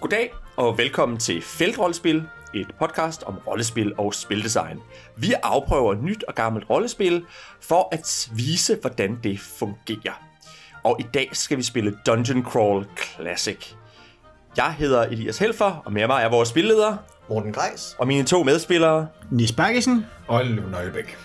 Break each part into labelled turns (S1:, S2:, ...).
S1: Goddag og velkommen til Feltrollespil, et podcast om rollespil og spildesign. Vi afprøver nyt og gammelt rollespil for at vise, hvordan det fungerer. Og i dag skal vi spille Dungeon Crawl Classic. Jeg hedder Elias Helfer, og med mig er vores spilleder
S2: Morten Grejs.
S1: og mine to medspillere.
S3: Nis Bakkesen.
S4: Og Løv Nøglebæk.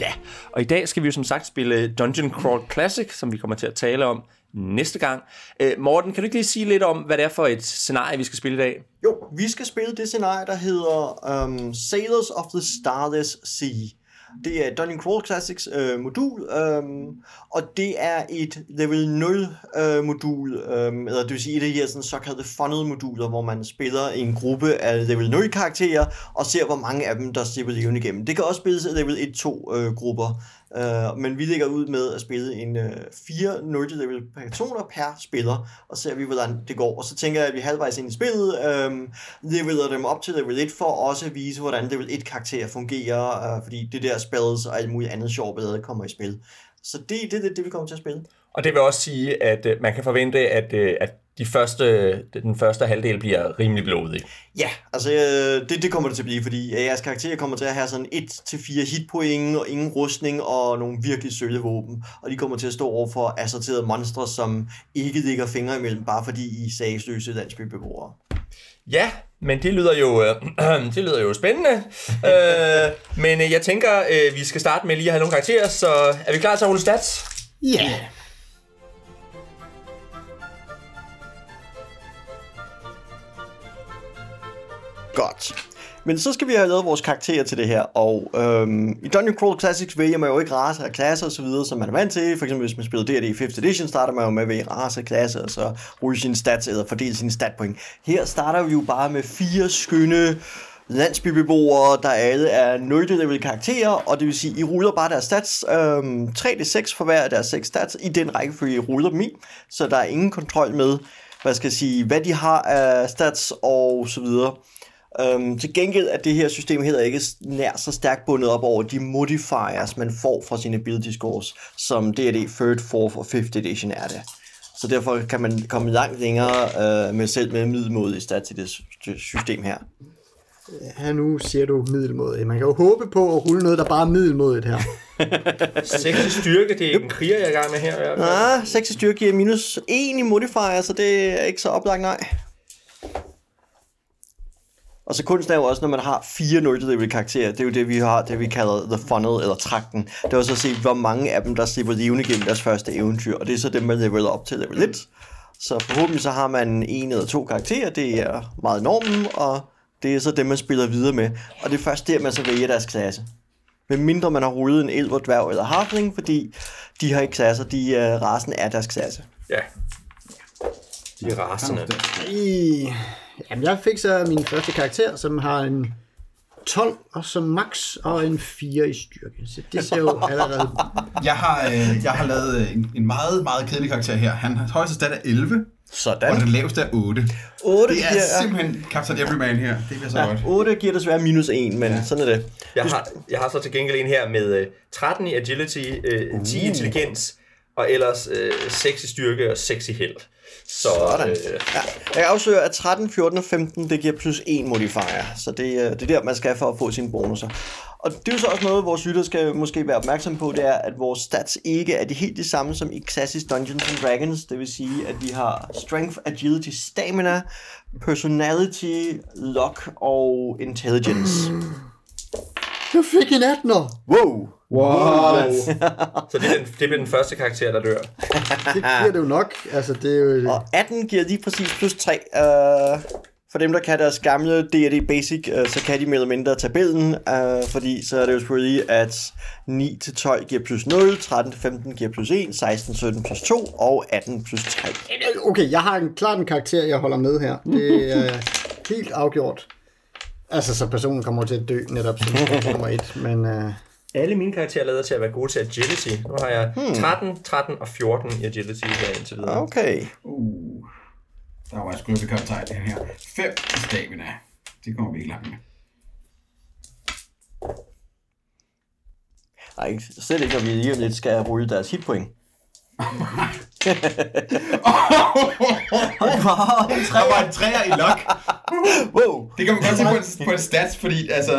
S1: Ja, og i dag skal vi jo som sagt spille Dungeon Crawl Classic, som vi kommer til at tale om næste gang. Øh, Morten, kan du ikke lige sige lidt om, hvad det er for et scenarie, vi skal spille i dag?
S2: Jo, vi skal spille det scenarie, der hedder um, Sailors of the Starless Sea. Det er Dungeon Crawl Classics øh, modul, øhm, og det er et level 0 øh, modul, øhm, eller det vil sige et af de her sådan, såkaldte funnel moduler, hvor man spiller en gruppe af level 0 karakterer, og ser hvor mange af dem, der slipper levende igennem. Det kan også spilles af level 1-2 øh, grupper, øh, men vi ligger ud med at spille en øh, 4 0 level personer per spiller, og ser vi, hvordan det går. Og så tænker jeg, at vi halvvejs ind i spillet øh, leveler dem op til level 1, for også at vise, hvordan level 1 karakterer fungerer, øh, fordi det der spells og alt muligt andet sjovt bedre kommer i spil. Så det, det er det, det, vi kommer til at spille.
S1: Og det vil også sige, at øh, man kan forvente, at, øh, at de første, den første halvdel bliver rimelig blodig.
S2: Ja, altså øh, det, det kommer det til at blive, fordi øh, jeres karakterer kommer til at have sådan 1-4 hitpoint og ingen rustning og nogle virkelig sølle våben. Og de kommer til at stå over for assorterede monstre, som ikke ligger fingre imellem, bare fordi I er sagsløse landsbybeboere.
S1: Ja, men det lyder jo, øh, det lyder jo spændende. øh, men øh, jeg tænker, øh, vi skal starte med lige at have nogle karakterer, så er vi klar til at rulle stats?
S3: Ja. Yeah.
S2: Godt. Men så skal vi have lavet vores karakterer til det her, og øhm, i Dungeon Crawl Classics vælger man jo ikke raser og klasser osv., som man er vant til. For eksempel hvis man spiller D&D 5th Edition, starter man jo med at vælge raser og klasser, og så rulle sine stats eller fordele sine statpoint. Her starter vi jo bare med fire skønne landsbybeboere, der alle er 0 level karakterer, og det vil sige, I ruller bare deres stats, øhm, 3d6 for hver af deres 6 stats, i den rækkefølge, I ruller dem i, så der er ingen kontrol med, hvad skal jeg sige, hvad de har af stats og så videre. Øhm, til gengæld er det her system heller ikke nær så stærkt bundet op over de modifiers, man får fra sine ability scores, som D&D 3rd, 4th og 5th edition er det. Så derfor kan man komme langt længere øh, med selv med middelmodige stats i det sy- system her.
S3: Her nu siger du middelmodigt. Man kan jo håbe på at rulle noget, der bare er middelmodigt her.
S1: 6 i styrke, det er en kriger, jeg er i gang med her. i hvert fald.
S2: Ah, 6 i styrke giver minus 1 i modifier, så det er ikke så oplagt, nej. Og så kunsten er jo også, når man har fire 0 level karakterer, det er jo det, vi har, det vi kalder the funnel, eller trakten. Det er også at se, hvor mange af dem, der slipper levende gennem deres første eventyr, og det er så dem, man leveler op til level 1. Så forhåbentlig så har man en eller to karakterer, det er meget normen, og det er så dem, man spiller videre med. Og det er først der, man så vælger deres klasse. Men mindre man har rullet en elver, dværg eller harfling, fordi de har ikke klasser, de uh, rasen er deres klasse.
S1: Ja. De er rasende.
S3: I... Jamen, jeg fik så min første karakter, som har en 12 og som max og en 4 i styrke. Så det ser jo allerede...
S4: Jeg har, øh, jeg har lavet øh, en, en meget, meget kedelig karakter her. Han har højeste stat er 11, og den
S2: Sådan.
S4: laveste er 8.
S2: 8
S4: Det
S2: giver,
S4: er simpelthen Captain Everyman her. Det bliver så godt.
S2: 8 giver desværre minus 1, men ja. sådan er det.
S1: Jeg har, jeg har så til gengæld en her med øh, 13 i agility, øh, 10 i intelligens, og ellers øh, 6 i styrke og 6 i held. Så,
S2: Sådan.
S1: Øh,
S2: Ja. Jeg kan afsløre, at 13, 14 og 15, det giver plus 1 modifier. Så det, øh, det er der, man skal for at få sine bonusser. Og det er jo så også noget, vores lytter skal måske være opmærksom på, det er, at vores stats ikke er de helt de samme som i klassisk Dungeons and Dragons. Det vil sige, at vi har Strength, Agility, Stamina, Personality, Luck og Intelligence.
S3: Jeg fik en 18'er!
S2: Wow!
S4: What?
S1: så det, er den, det bliver den første karakter, der dør.
S3: Det bliver det jo nok. Altså, det er jo...
S2: Og 18 giver lige præcis plus 3. Øh, for dem, der kan deres gamle D&D Basic, øh, så kan de mere eller mindre tabellen, øh, fordi så er det jo selvfølgelig, at 9-12 giver plus 0, 13-15 giver plus 1, 16-17 plus 2 og 18 plus 3.
S3: Okay, jeg har en klart en karakter, jeg holder med her. Det er helt afgjort. Altså, så personen kommer til at dø netop som nummer et, men... Uh...
S1: Alle mine karakterer lader til at være gode til agility. Nu har jeg
S2: Hmm.
S1: 13, 13 og 14 i agility her indtil videre.
S2: Okay.
S4: Uh, der var jeg sgu ved kaptajn den her. 5 i stamina. Det kommer vi ikke langt med.
S2: Nej, ikke- slet ikke, når vi lige om lidt skal rulle deres hitpoint.
S4: Der var en træer i lok.
S2: Wow.
S4: Det kan man godt se på en, på en stats, fordi altså,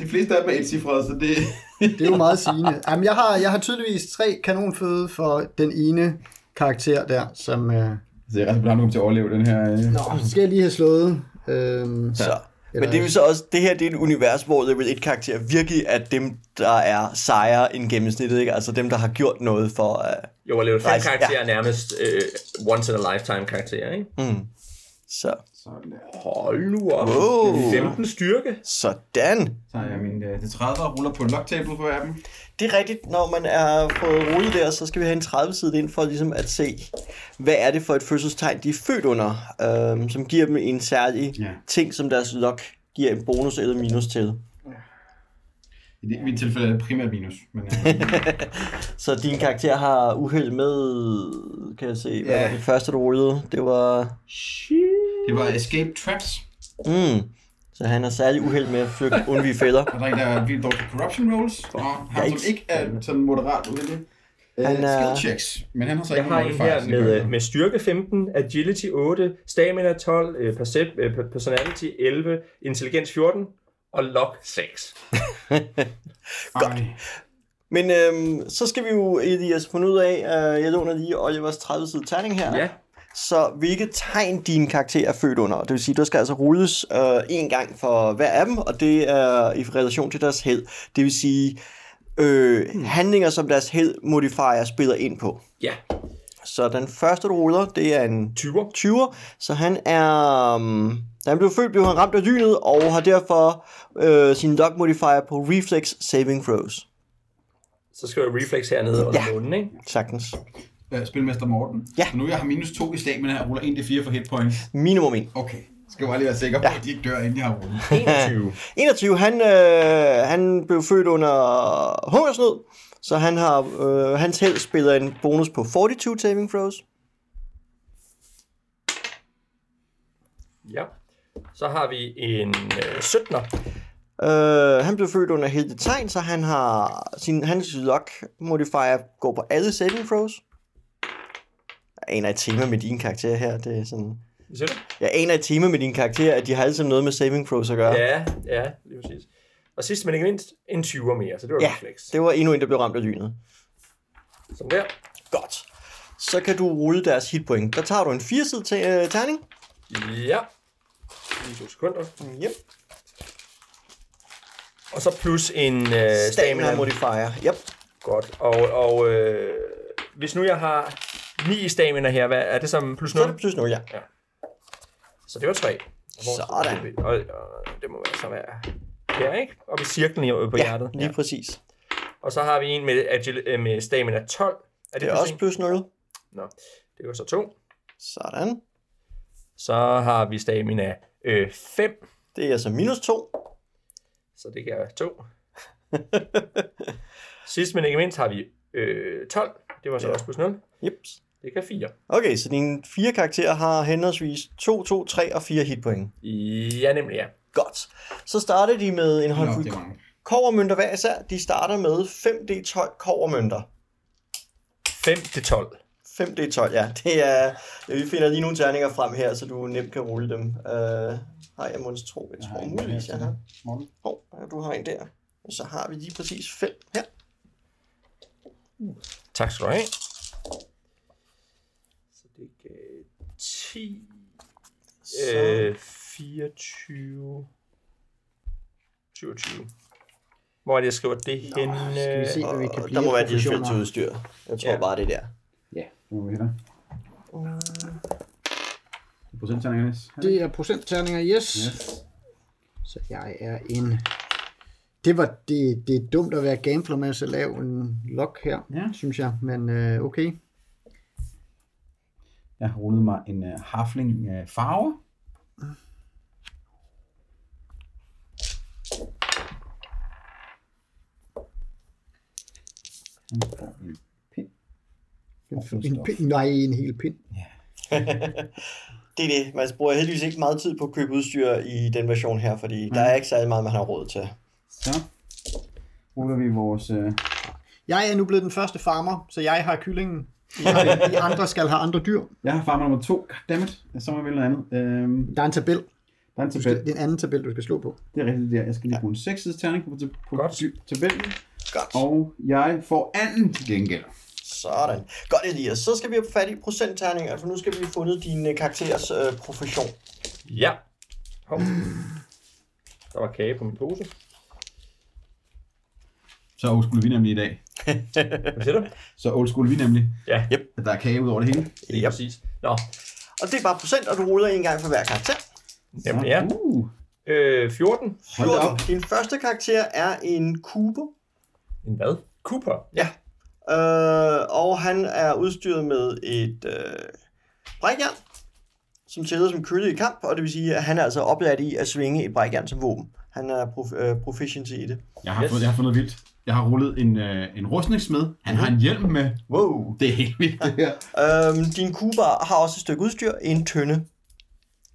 S4: de fleste af dem er etcifrede, så det...
S5: Det er jo meget sigende. Jamen, jeg, har, jeg har tydeligvis tre kanonføde for den ene karakter der, som... Øh...
S4: Så jeg er ret blandt til at overleve den her... Øh.
S5: Nå, så skal jeg lige have slået. Øhm,
S2: Så. Men det er jo så også, det her det er et univers, hvor level 1 karakterer virkelig er dem, der er sejere end gennemsnittet, ikke? Altså dem, der har gjort noget for... Uh...
S1: Jo, at lave fem
S2: Rejse,
S1: karakterer er nærmest øh, once in a lifetime karakterer, ikke?
S2: Hmm. Så.
S4: Sådan der.
S1: Hold nu op.
S2: Wow.
S1: 15 styrke.
S2: Sådan.
S4: Så har jeg min øh, det 30 og ruller på en loktable på appen.
S2: Det er rigtigt, når man er på rullet der, så skal vi have en 30-side ind for ligesom at se, hvad er det for et fødselstegn, de er født under, øhm, som giver dem en særlig
S4: Ja.
S2: ting, som deres lok giver en bonus eller minus til.
S4: I det- i mit tilfælde er det primært minus, men øh,
S2: Så din karakter har uheld med, kan jeg se, hvad
S4: Ja.
S2: var det første, du rullede? Det var...
S4: det var escape traps.
S2: Mm. Så han har særlig uheld med at flygte, undvige fælder.
S4: Og der er en, der er vildt dårlig til corruption rolls, og han
S2: Yikes.
S4: som ikke er sådan moderat uheldig.
S2: Han
S4: Han er...
S2: er-
S4: Skill checks, men han har så
S1: Jeg
S4: ikke
S1: har en
S4: nogen
S1: her
S4: fejl.
S1: med, øh, med styrke 15, agility 8, stamina 12, øh, percep- øh, per- personality 11, intelligens 14 og lock 6.
S4: godt.
S2: Men øhm, så skal vi jo, Elias, finde ud af, øh, jeg låner lige Olivers 30-side terning her.
S1: Ja.
S2: Så hvilke tegn din karakter er født under? Det vil sige, der skal altså rulles øh, en gang for hver af dem, og det er i relation til deres held. Det vil sige, øh, handlinger som deres held modifier spiller ind på.
S1: Ja,
S2: Så den første, du ruller, det er en
S1: 20.
S2: 20'er, så han er... Um, da han blev født, blev han ramt af lynet, og har derfor øh, sin luck modifier på Reflex Saving Throws.
S1: Så skriver jeg reflex hernede under
S2: Ja.
S1: ja. munden, ikke?
S2: Sagtens.
S4: Øh, Spilmester Morten.
S2: Ja.
S4: Så nu jeg har minus 2 i stamina og ruller 1d4 for hit points.
S2: Minimum 1.
S4: Okay, skal jeg bare lige være sikker på, ja. at de ikke dør, inden jeg har rullet.
S1: 21.
S2: 21, han, øh, han blev født under hungersnød, så han har, øh, hans held spiller en bonus på 42 saving throws.
S1: Ja. Så har vi en øh, 17'er.
S2: Øh, han blev født under heldetegn, så han har sin, hans luck modifier går på alle saving throws. Jeg aner et tema med dine karakterer her. Det er sådan...
S1: Hvad siger du?
S2: Jeg aner et tema med dine karakterer, at de har alle sammen noget med saving throws at gøre.
S1: Ja, ja, lige præcis. Og sidst men ikke mindst, en 20'er mere, så det var
S2: ja
S1: reflex.
S2: det var endnu en, der blev ramt af lynet.
S1: Som der.
S2: Godt. Så kan du rulle deres hitpoint. Der tager du en 4 side terning.
S1: Ja. Lige to sekunder.
S2: Yep.
S1: Og så plus en øh,
S2: Stamina
S1: stamina.
S2: modifier. Yep.
S1: Godt. Og, og øh, hvis nu jeg har 9 stamina her, hvad er det som plus
S2: Så er det
S1: 0?
S2: plus nu, ja.
S1: Så det var 3.
S2: Sådan.
S1: Og, og det må være så være her, ikke? Oppe i cirklen i- på
S2: Ja,
S1: hjertet.
S2: lige præcis.
S1: Og så har vi en med, agil, øh, med stamina 12. Er det,
S2: Det er
S1: plus
S2: også
S1: en?
S2: plus 0.
S1: Nå, det var så 2.
S2: Sådan.
S1: Så har vi stamina øh, 5.
S2: Det er altså minus 2.
S1: Så det gav 2. Sidst men ikke mindst har vi øh, 12. Det var så ja. også plus 0.
S2: Yep.
S1: Det gav 4.
S2: Okay, så dine fire karakterer har henholdsvis 2, 2, 3 og 4 hitpoint.
S1: Ja, nemlig ja.
S2: Godt. Så starter de med en
S4: Nå, det
S2: håndfuld
S4: er mange.
S2: kovermønter hver især. De starter med 5D12 kovermønter.
S1: 5 til 12.
S2: 5D12, ja. Det er, ja, vi finder lige nogle terninger frem her, så du nemt kan rulle dem. Uh, har jeg måske tro? Jeg tror
S4: Nej,
S2: muligvis,
S4: det er
S2: jeg har.
S4: Morten.
S2: Hov, du har en der. Og så har vi lige præcis 5 her.
S1: Tak skal du have. Så det gav 10,
S2: Så,
S1: øh, 24, 27. Hvor er det, jeg skriver det henne?
S5: skal vi se, hvad vi kan
S2: og
S5: blive
S2: der må
S5: af
S2: være dit
S5: professioner.
S2: felt udstyr. Jeg tror
S1: Ja.
S2: bare, det er der.
S4: Nu er vi her. Procenttagning, Hannes.
S5: Det er procentterninger, yes.
S4: Yes.
S5: Så jeg er en... Det, var, det, det er dumt at være gambler med at så lave en log her,
S4: Ja.
S5: synes jeg. Men øh, okay.
S4: Jeg har rullet mig en uh, harfling uh, farve. Han får en pind. Og
S5: En,
S4: fodstof.
S5: en pind. Nej, en hel pind.
S2: Det er det. Man bruger heldigvis ikke meget tid på at købe udstyr i den version her, fordi mm. der er ikke særlig meget, man har råd til.
S4: Så ruller vi vores... Uh,
S5: Jeg er nu blevet den første farmer, så jeg har kyllingen. De andre skal have andre dyr.
S4: Jeg har farmer nummer to. Goddammit. Så må jeg vælge noget andet. Øhm,
S5: Der er en tabel.
S4: der er en
S5: Du
S4: tabel.
S5: skal, det er en anden tabel, du skal slå på.
S4: Det er rigtigt der. Jeg skal lige bruge en 6 terning på, tab- på
S1: Godt.
S4: dy- tabellen.
S2: Godt.
S4: Og jeg får anden til gengæld.
S2: Sådan. Godt, Elias. Så skal vi have fat i procentterninger, for nu skal vi have fundet din øh, karakteres øh, profession.
S1: Ja. Hov. Der var kage på min pose.
S4: Så old school er vi nemlig i dag.
S1: Hvad siger du?
S4: Så old school er vi nemlig.
S1: Ja,
S6: Yep.
S4: At der er kage ud over det hele.
S1: lige
S2: Yep.
S1: præcis. Nå,
S2: Og det er bare procent, og du ruller en gang for hver karakter.
S1: Jamen, ja.
S4: Uh,
S1: øh, 14.
S4: hold da op.
S2: 14. Din første karakter er en kubo,
S1: En hvad? Cooper.
S2: Ja. Øh, og han er udstyret med et øh, brækjern, som tæller som kølle i kamp, og det vil sige, at han er altså oplært i at svinge et brækjern som våben. Han er prof- øh, proficiency i det.
S4: Jeg har,
S1: Yes.
S4: yes. fået, jeg har fundet vildt. Jeg har rullet en, øh, en rustningssmed. Han har en hjelm med.
S2: Mhm. Wow.
S4: Det er helt vildt, det her.
S2: Øhm, din kubar har også et stykke udstyr, en tønde.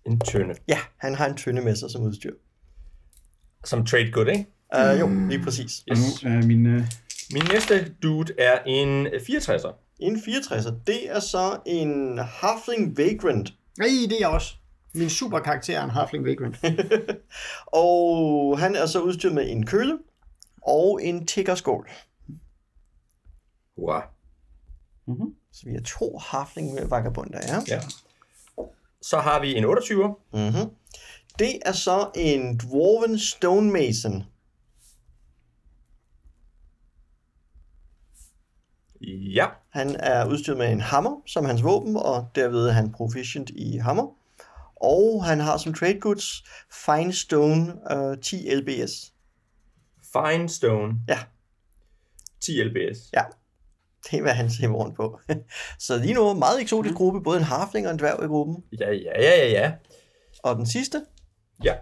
S1: En tønde.
S2: Ja, han har en tønde med sig som udstyr.
S1: Som trade good, ikke?
S2: Øh, jo, lige præcis.
S4: Og nu er min... Øh,
S1: Min næste dude er en 64'er.
S2: En 64, det er så en Halfling Vagrant.
S5: Nej, det er jeg også. Min superkarakter er en Halfling Vagrant.
S2: Og han er så udstyret med en køle og en tiggerskål.
S1: Hurra.
S2: Så vi har to Halfling vagabunder, ja.
S1: Ja. Så har vi en 28'er.
S2: Mm-hmm. Det er så en Dwarven Stonemason.
S1: Ja.
S2: Han er udstyret med en hammer som hans våben, og derved er han proficient i hammer. Og han har som trade goods Fine Stone øh, 10 LBS.
S1: Fine stone.
S2: Ja.
S1: 10 lbs.
S2: Det er, hvad han ser rundt på. så lige nu, meget eksotisk gruppe, både en harfling og en dværg i gruppen.
S1: Ja, ja, ja, ja, ja.
S2: Og den sidste,
S1: Ja.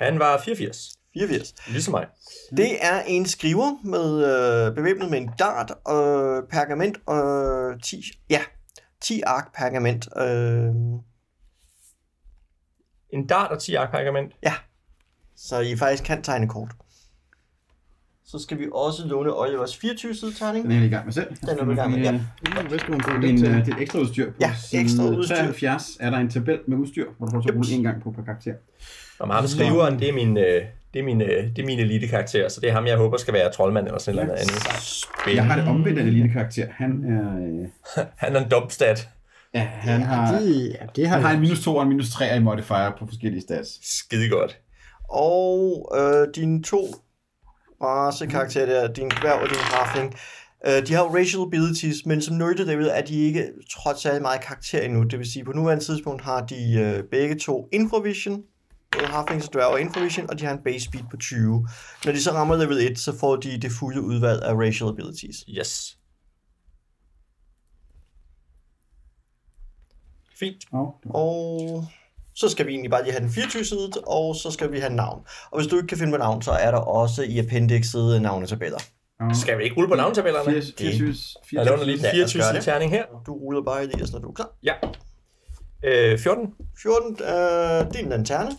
S1: Han var 84.
S2: 84.
S1: Ligesom mig.
S2: Det er en skriver med øh, bevæbnet med en dart og øh, pergament og øh, 10, ja, 10 ark pergament. Øh,
S1: En dart og 10 arkpergament.
S2: Så I faktisk kan tegne kort. Så skal vi også låne Olivers 24-side tegning.
S4: den er jeg lige i gang med selv.
S2: Den er du i gang med, ja.
S5: Uh, hvad skal man bruge
S4: Min,
S5: den til?
S4: øh, det er et ekstra udstyr. På
S2: Ja, ekstra
S4: side
S2: udstyr.
S4: 73 er der en tabel med udstyr, hvor du får så
S2: Yep.
S4: rulle en gang på per karakter.
S1: Og ham skriveren, det er min, øh, det er min, øh, det er min elite karakter, så det er ham, jeg håber skal være troldmand eller sådan et eller andet andet.
S4: Jeg har
S1: Spændende.
S4: det omvendt af den lille karakter. Han er... Øh,
S1: Han er en dumpstat.
S4: ja, han har...
S5: Det, ja, det øh, har
S4: Han har en
S5: jeg.
S4: minus 2 og en minus 3 i modifier på forskellige stats.
S1: Skide godt.
S2: Og øh, dine to racekarakterer der, din dværg og din harfling, øh, de har jo racial abilities, men som David er de ikke trods særlig meget karakter endnu. Det vil sige, på nuværende tidspunkt har de øh, begge to Infovision, både harflings og dværg og Infovision, og de har en base speed på 20. Når de så rammer level 1, så får de det fulde udvalg af racial abilities.
S1: Yes. Fint.
S4: Oh,
S2: Og så skal vi egentlig bare lige have den 24-side, og så skal vi have navn. Og hvis du ikke kan finde på navn, så er der også i appendixet navnetabeller.
S4: oh.
S1: Skal vi ikke rulle på navntabellerne?
S4: 84,
S1: Jeg låner lige en
S2: Lad os
S1: 24
S2: gøre det.
S1: terning her.
S2: Du ruller bare Elias, når du er klar.
S1: Ja. Øh, 14.
S2: 14, øh, det er en lanterne.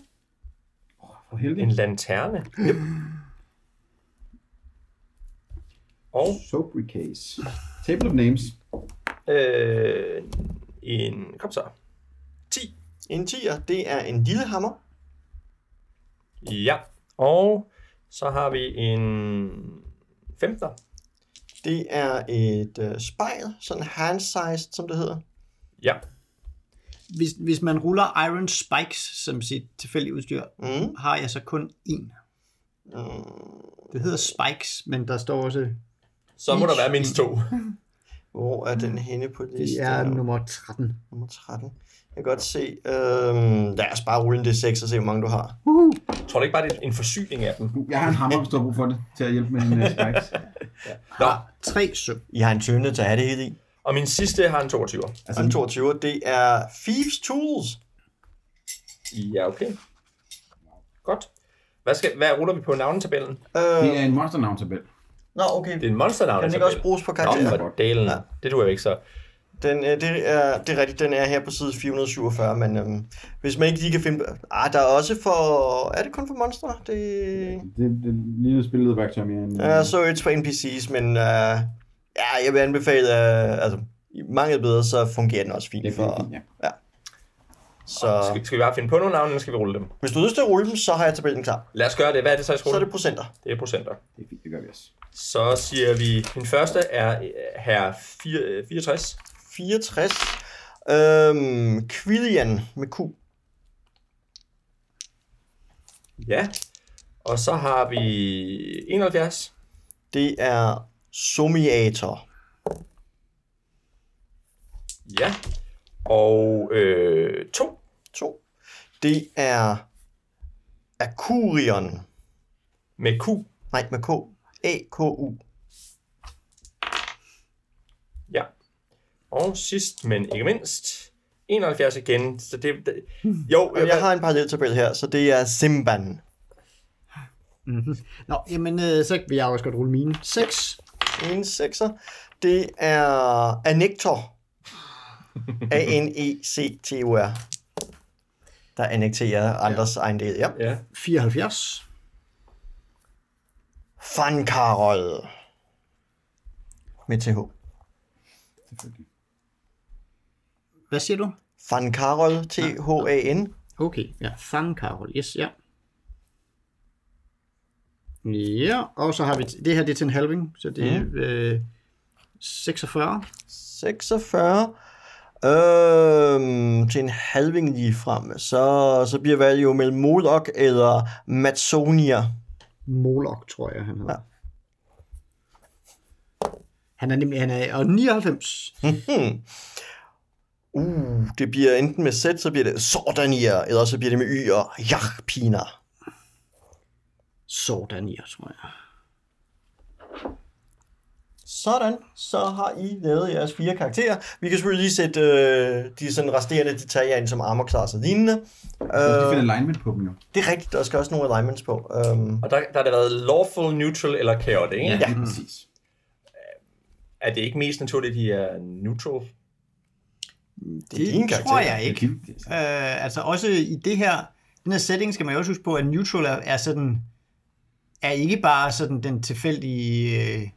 S4: For heldig.
S1: En lanterne. Yep. Og
S4: Soapry case. Table of names.
S1: øh, en... Kom så. 10.
S2: En 10'er, det er en lille hammer.
S1: Ja. Og så har vi en 15.
S2: Det er et øh, spejl, sådan hand-sized, som det hedder.
S1: Ja.
S5: Hvis, hvis man ruller Iron Spikes som sit tilfældige udstyr,
S2: Mm.
S5: har jeg så kun én.
S2: Mm.
S5: Det hedder Spikes, men der står også,
S1: Så må der være mindst to.
S2: Hvor er den henne på listen?
S5: det er nummer 13.
S2: nummer 13. Jeg kan godt se. Øh, lad os bare rulle en D6 og se, hvor mange du har.
S1: Tror du ikke bare, det er en forsyning af dem?
S4: Jeg har en hammer, hvis du har brug for det, til at hjælpe med en uh, spikes.
S1: Nå.
S5: Tre søm.
S2: I har en tynde til at have det hele i.
S1: Og min sidste har en 22.
S2: Altså, den 22, det er Thieves Tools.
S1: Ja, okay. Godt. Hvad, skal, hvad ruller vi på navnetabellen?
S2: Øh,
S4: Det er en monsternavntabel.
S2: Nå, okay.
S1: Det er en monsternavn.
S2: Kan den ikke også bruges på
S1: Nå,
S2: karakterer?
S1: for dalen.
S2: Ja.
S1: Det duer jo ikke så.
S2: Den, øh, det, er, det er rigtigt, den er her på side 447, men øhm, hvis man ikke lige kan finde... Ah, der er også for... Er det kun for monstre? Det...
S4: Altså, Det, det lille spillede værktøj mere end...
S2: Jeg så et for NPC's, men øh, Ja, jeg vil anbefale, øh, altså, i mangel bedre, så fungerer den også fint.
S4: Det er
S2: for,
S4: fint, ja.
S2: ja. Så
S1: Skal, skal vi bare finde på nogle navne, eller skal vi rulle dem?
S2: hvis du har lyst til at rulle dem, så har jeg tabellen klar.
S1: Lad os gøre det. Hvad er det så, jeg skal
S2: Så er
S1: rulle?
S2: det procenter.
S1: Det er procenter.
S4: Det er fint, det gør vi også.
S1: Så siger vi, den første er øh, herre fire- øh, 64.
S2: 64. Øhm, Quillian med Q.
S1: Ja. Og så har vi 71.
S2: Det er Somiator.
S1: Ja. Og øh, 2.
S2: 2. Det er Akurion.
S1: Med Q.
S2: Nej, med K. A-K-U.
S1: Ja. Og sidst, men ikke mindst, 71 igen. Så det, det jo,
S2: Og jeg har en paralleltabel her, så det er Simban.
S5: Nå, jamen, øh, så vil jeg også godt rulle mine. 6.
S2: En sekser. Det er Anektor. E A-N-E-C-T-O-R. Der annekterer andres ja. egen del. Ja.
S1: Ja.
S5: 74.
S2: Fankarol. Med TH.
S4: Selvfølgelig.
S5: Hvad siger du?
S2: Fankarol. T-H-A-N.
S5: Okay, ja. Fang Karol. Yes, ja. Ja, og så har vi... Det her, det er til en halving, så det er øh, 46.
S2: 46. Øhm, til en halving lige frem. Så, så bliver valget jo mellem Molok eller Matsonia.
S5: Molok, tror jeg, han hedder. Ja. Han er nemlig... Han er og 99.
S2: Hmm. Uh, det bliver enten med Z, så bliver det Sordania, eller så bliver det med Y og Jachpina.
S5: Sådan, jeg tror jeg.
S2: Sådan, så har I lavet jeres fire karakterer. Vi kan selvfølgelig lige sætte øh, de sådan resterende detaljer ind som armor class og lignende.
S4: Øh... De
S2: Øh,
S4: finder alignment på dem jo.
S2: det er rigtigt, der skal også nogle alignments på. Øhm,
S1: Og der, der har det været lawful, neutral eller chaotic, ikke?
S4: Ja, lige præcis.
S1: Er det ikke mest naturligt, at de er neutral?
S2: Det er dine karakterer.
S3: tror jeg ikke.
S4: Det er din-
S3: Øh, altså også i det her, den her setting skal man jo også huske på, at neutral er, er sådan, er ikke bare sådan den tilfældige øh,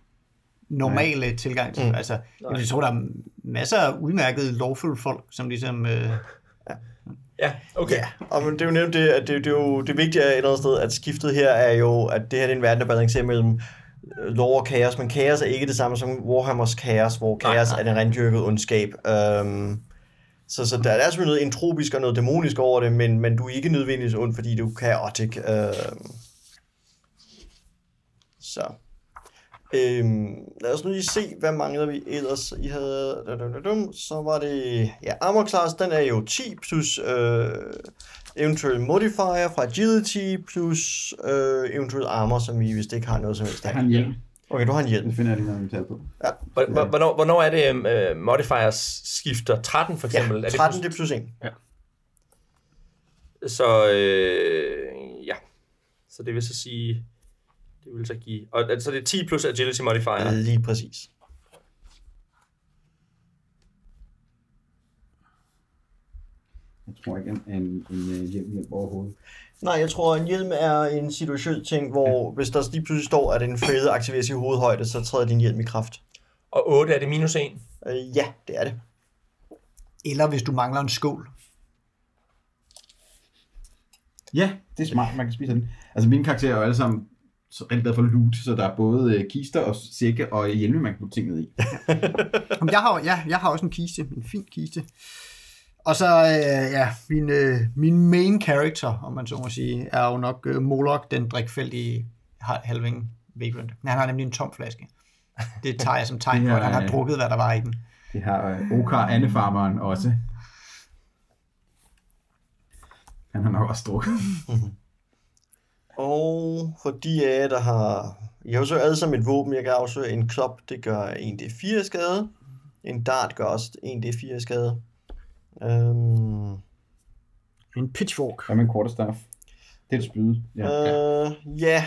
S3: normale Nej. tilgang til. Mm. Altså, jeg vil tro, der er masser af udmærkede lawful folk, som ligesom, øh,
S1: Ja, okay. Yeah.
S2: Og men det er jo nemt det, at det, det er jo det vigtige er et eller andet sted, at skiftet her er jo, at det her det er en verden, der balancerer mellem øh, lov og kaos, men kaos er ikke det samme som Warhammers kaos, hvor kaos er den rendyrkede ondskab. Øhm, så, så der er selvfølgelig noget entropisk og noget dæmonisk over det, men, men du er ikke nødvendigvis ond, fordi du er kaotik. Øhm, så. Øhm, lad os nu lige se, hvad mangler vi ellers. I havde... dum, dum, dum, dum. Så var det... Ja, armor class, den er jo 10 plus øh, eventuel modifier fra agility plus øh, eventuel armor, som vi vist ikke har noget som helst
S4: Jeg
S2: af.
S4: har en hjelm.
S2: Okay, du har en hjelm.
S4: Det finder jeg lige noget, vi tager på.
S1: Hvornår, hvornår er det, uh, modifiers skifter? 13 for
S2: Ja,
S1: eksempel? er
S2: 13 det er plus 1.
S1: det, så øh, ja. Så det vil så sige... Det vil så give... Og, så altså, det er 10 plus agility modifier.
S2: Lige præcis.
S4: Jeg tror ikke, en, en, en øh, hjelm hjælper overhovedet.
S2: Nej, jeg tror, en hjelm er en situationel ting, hvor ja. hvis der lige pludselig står, at en fæde aktiveres i hovedhøjde, så træder din hjelm i kraft.
S1: Og 8 er det minus 1.
S2: Øh, ja, det er det.
S3: eller hvis du mangler en skål.
S4: Ja, det er smart, man kan spise den. Altså mine karakterer er jo alle sammen så rigtig glade for loot, så der er både øh, kister og sække og hjelme, man kan putte ting ned i.
S5: Jamen, jeg, har, jo- ja, jeg har også en kiste, en fin kiste. Og så, øh, ja, min, øh, min main character, om man så må sige, er jo nok øh, Moloch, den drikfældige har- halving vagrant. Men Han har nemlig en tom flaske. Det tager jeg som tegn på, at han har drukket, hvad der var i den.
S4: Det har øh, Okar Annefarmeren også. Han har nok også drukket.
S2: Og for de af jer, der har... Jeg har jo så alle sammen et våben. Jeg kan afsløre en klop, det gør 1d4 skade. En dart gør også 1d4 skade. Øhm,
S5: En pitchfork.
S4: Hvad med en quarterstaff? Det er et spyd. Ja, ja.
S2: øh, ja,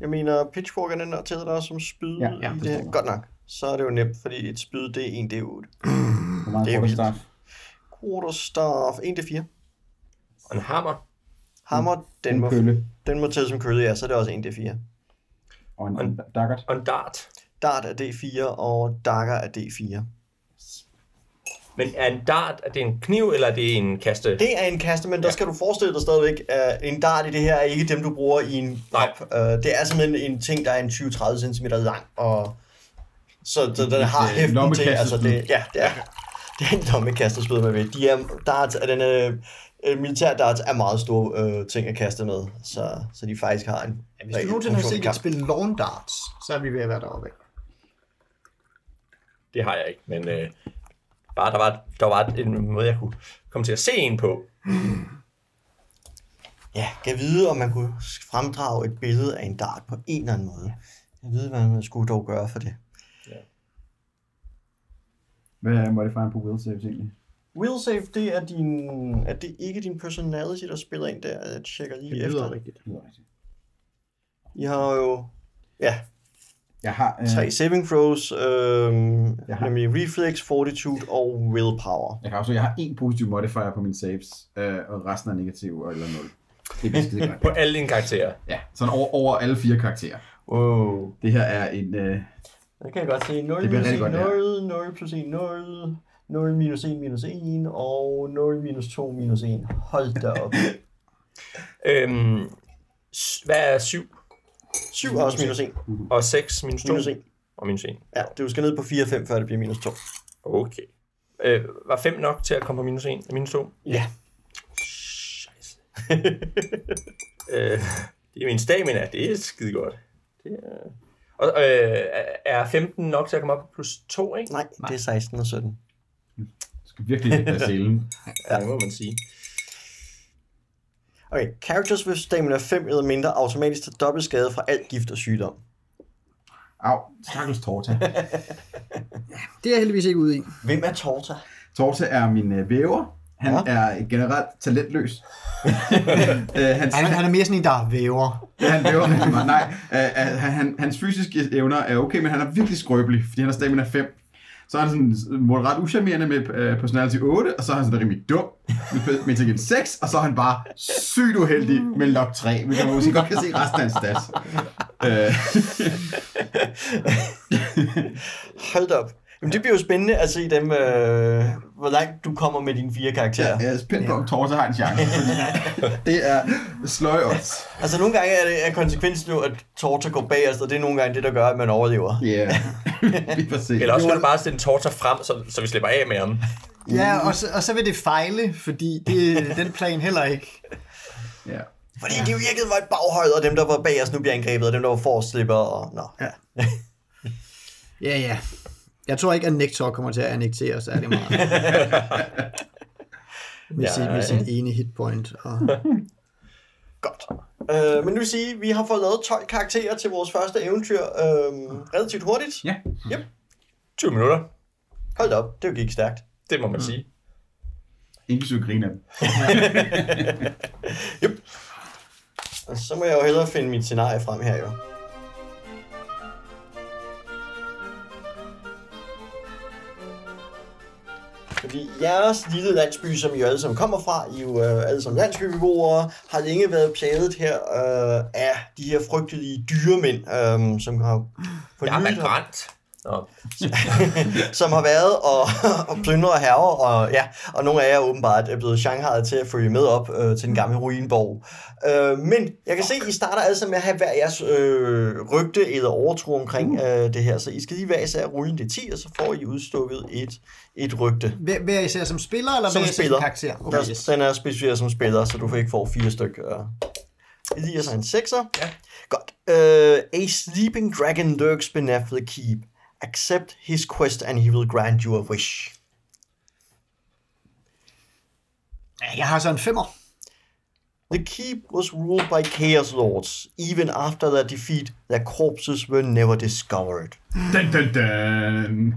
S2: jeg mener, pitchforkerne når til dig som spyd.
S4: Ja, ja,
S2: i
S4: det
S2: det.
S4: står der.
S2: Godt nok. Så er det jo nemt, fordi et spyd, det er 1d8.
S4: Hvor meget
S2: det er
S4: quarterstaff?
S2: Quarterstaff, 1d4.
S1: Og en hammer.
S2: Hammer, den
S4: Mm. En
S2: må,
S4: kølle.
S2: den må tælle som kølle, ja, så er det også 1d4.
S4: Og en, en dakkert.
S1: Og en dart.
S2: Dart er D4, og Dagger er D4.
S1: Men er en dart, er det en kniv, eller er det en kaste?
S2: Det er en kaste, men ja. der skal du forestille dig stadigvæk, at en dart i det her er ikke dem, du bruger i en
S1: Nej.
S2: kop. Øh, det er simpelthen en ting, der er en 20-30 cm lang, og så, så den
S4: Det
S2: har
S4: er en
S2: hæften til. Altså
S4: lommekastespyd.
S2: det, ja, det er, det er en lommekastespyd, man ved. De er, darts, er den, øh, øh, militær darts er meget store øh, ting at kaste med, så, så de faktisk har en ja,
S3: Hvis du nogensinde har set et spil lawn darts, så er vi ved at være deroppe. af.
S1: Det har jeg ikke, men øh, bare der var, der var en måde, jeg kunne komme til at se en på.
S2: Ja, kan vide, om man kunne fremdrage et billede af en dart på en eller anden måde. Jeg ved, hvad man skulle dog gøre for det.
S4: Hvad er modifieren på will saves egentlig?
S2: Will save, det er din... Er det ikke din personality, der spiller ind der? Jeg tjekker lige
S3: Det lyder
S2: efter.
S3: rigtigt.
S4: Det lyder rigtigt.
S2: I har jo... Ja,
S4: Jeg har... Øh,
S2: tre saving throws, øh,
S4: Jeg har-
S2: nemlig reflex, fortitude og willpower.
S4: jeg kan også, jeg har en positiv modifier på mine saves, øh, og resten er negativ eller 0. Det er skide godt.
S1: På alle dine karakterer.
S4: Ja, sådan over, over alle fire karakterer.
S2: Wow.
S4: Det her er en... Øh,
S2: Det kan jeg godt se. 0
S4: Det bliver
S2: minus
S4: rigtig
S2: 1,
S4: godt, det her.
S2: 0, 0 plus 1, 0, 0 minus 1 minus 1, og 0 minus 2 minus 1. Hold da op.
S1: Øhm, s- hvad er 7
S2: 7 også minus 1.
S1: og 6 minus 2?
S2: Minus 1.
S1: Og minus 1.
S2: Ja, du skal ned på 4 5, før det bliver minus 2.
S1: Okay. Øh, var 5 nok til at komme på minus 1? Minus 2?
S2: Ja.
S1: Scheisse. øh, det er min stamina, det er skide godt. Det er... Og, øh, er 15 nok til at komme op på plus 2, ikke?
S2: Nej, det er 16 og 17.
S4: du skal virkelig ikke af selen.
S1: Ja, det må man sige.
S2: Okay, characters with stamina 5 eller mindre automatisk tager dobbelt skade fra alt gift og sygdom.
S4: Au, stakkels Torta.
S3: Det er jeg heldigvis ikke ude i.
S2: Hvem er Torta?
S4: Torta er min øh, væver. Han
S2: Ja.
S4: ja. er generelt talentløs. øh, hans,
S3: Han,
S4: han,
S3: han er mere sådan en, der væver.
S4: han væver rigtig meget. Nej, øh, øh, han, hans fysiske evner er okay, men han er virkelig skrøbelig, fordi han har stamina 5. Så er han sådan moderat uschammerende med øh, personality 8, og så er han sådan rimelig dum med intelligens 6, og så er han bare sygt uheldig med lock 3, hvilket man måske godt kan se resten af hans stats. Øh,
S2: Hold da op. Jamen, det bliver jo spændende at se dem, øh, hvor langt du kommer med dine fire karakterer.
S4: jeg er spændt på, om Torta har en chance. det er sløj odds.
S2: Altså, nogle gange er, det, er konsekvensen jo, at Torta går bagerst, og det er nogle gange det, der gør, at man overlever.
S4: Ja, yeah. lige præcis.
S1: Eller også kan du bare stille en torter frem, så, så vi slipper af med ham.
S3: Ja, og så, og så vil det fejle, fordi det er den plan heller ikke.
S4: Ja.
S2: Fordi de virkede var et baghold, og dem, der var bagerst, nu bliver angrebet, og dem, der var forrest, slipper, og nå. Ja.
S3: Ja, ja. Jeg tror ikke, at Nektor kommer til at annektere særlig meget. med, ja, sit, med sin ene hitpoint. Og...
S2: Godt. Øh, men nu vil sige, vi har fået lavet 12 karakterer til vores første eventyr øh, relativt hurtigt.
S4: Ja.
S1: 20 minutter,
S2: Hold da op, det gik stærkt.
S1: det må man
S2: Mm.
S1: sige.
S4: Inklusive griner.
S2: Og så må jeg jo hellere finde mit scenarie frem her jo. Fordi jeres lille landsby, som I jo alle sammen kommer fra, I jo øh, alle sammen landsbybeboere, har længe været plaget her øh, af de her frygtelige dyremænd, øh, som har på
S1: Jeg har
S2: nylig
S1: været brændt. Nå.
S2: som har været og, og plyndret herrer, og, ja, og nogle af jer åbenbart er blevet shanghajet til at følge med op øh, til den gamle ruinborg. Øh, men jeg kan se, I starter altså med at have hver jeres øh, rygte eller overtro omkring øh, det her, så I skal lige hver især rulle det 10, og så får I udstukket et, et rygte.
S3: Hver, hver især som spiller, eller
S2: Som
S3: hver især
S2: spiller.
S3: som karakter?
S2: Okay,
S3: Okay,
S2: yes.
S3: yes.
S2: Den er specificeret som spiller, så du ikke får fire øh. stykker. Elias er en sekser.
S1: Ja.
S2: Godt. Uh, a sleeping dragon lurks beneath the keep. Accept his quest, and he will grant you a wish.
S3: Ja, Jeg har så en femmer.
S2: The keep was ruled by Chaos Lords. Even after their defeat, their corpses were never discovered.
S4: Dun, dun, dun.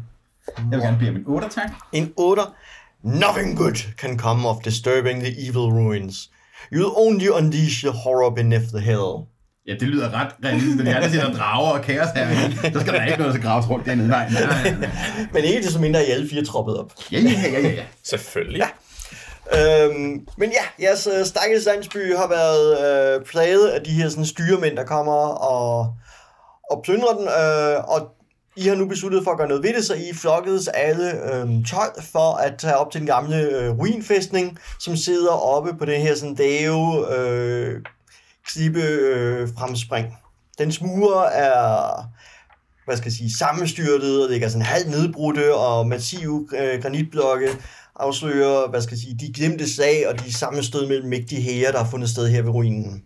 S4: Jeg vil gerne blive min 8, tak.
S2: In order, nothing good can come of disturbing the evil ruins. You'll only unleash the horror beneath the hill.
S4: Ja, det lyder ret realistisk. Det er der sidder drager og kaos her. Der skal der ikke noget, der skal graves rundt dernede. Nej, nej, nej. nej.
S2: Men ikke desto mindre er I alle fire troppet op.
S4: Ja, ja, ja, ja, ja.
S1: Selvfølgelig. Ja.
S2: Øhm, men ja, jeres øh, stakkels landsby har været øh, plaget af de her sådan, styremænd, der kommer og, og plyndrer den. Øh, og I har nu besluttet for at gøre noget ved det, så I flokkedes alle øhm, 12 for at tage op til den gamle øh, ruinfæstning, som sidder oppe på det her sådan dave øh, klippe øh, fremspring. Den smuger er hvad skal jeg sige, sammenstyrtet og ligger sådan halvt nedbrudte, og massive øh, granitblokke afslører, hvad skal jeg sige, de glemte slag og de sammenstød mellem mægtige hære, der har fundet sted her ved ruinen.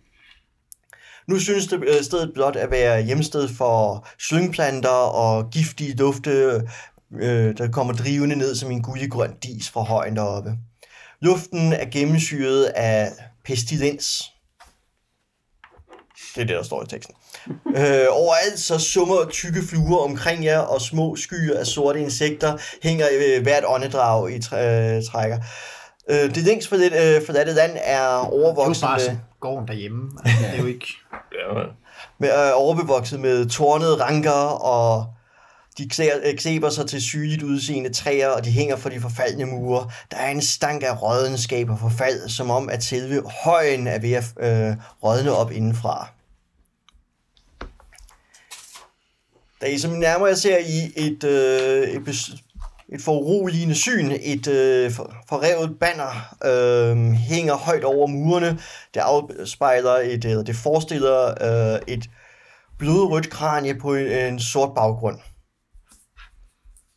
S2: Nu synes det øh, stedet blot at være hjemsted for slyngplanter og giftige dufte, øh, der kommer drivende ned som en guldegrøn dis fra højen deroppe. Luften er gennemsyret af pestilens. Det er det, der står i teksten. Øh, overalt så summer tykke fluer omkring jer, og små skyer af sorte insekter hænger øh, hvert åndedrag i træ, øh, trækker. Øh, det længst forladte, øh, forladte land er overvokset
S3: Det er jo bare
S2: med...
S3: sådan, gården derhjemme. Altså, det er jo ikke...
S1: Ja, man.
S2: med, øh, overbevokset med tornede ranker, og de klæ- øh, klæber sig til sygeligt udseende træer, og de hænger fra de forfaldne mure. Der er en stank af rådenskab og forfald, som om at selve højen er ved at øh, rådne op indenfra. Da I som nærmere ser I et, øh, et, bes- et foruroligende syn, et øh, for- forrevet banner øh, hænger højt over murene. Det afspejler et, eller det forestiller øh, et blodrødt kranie på en, en sort baggrund.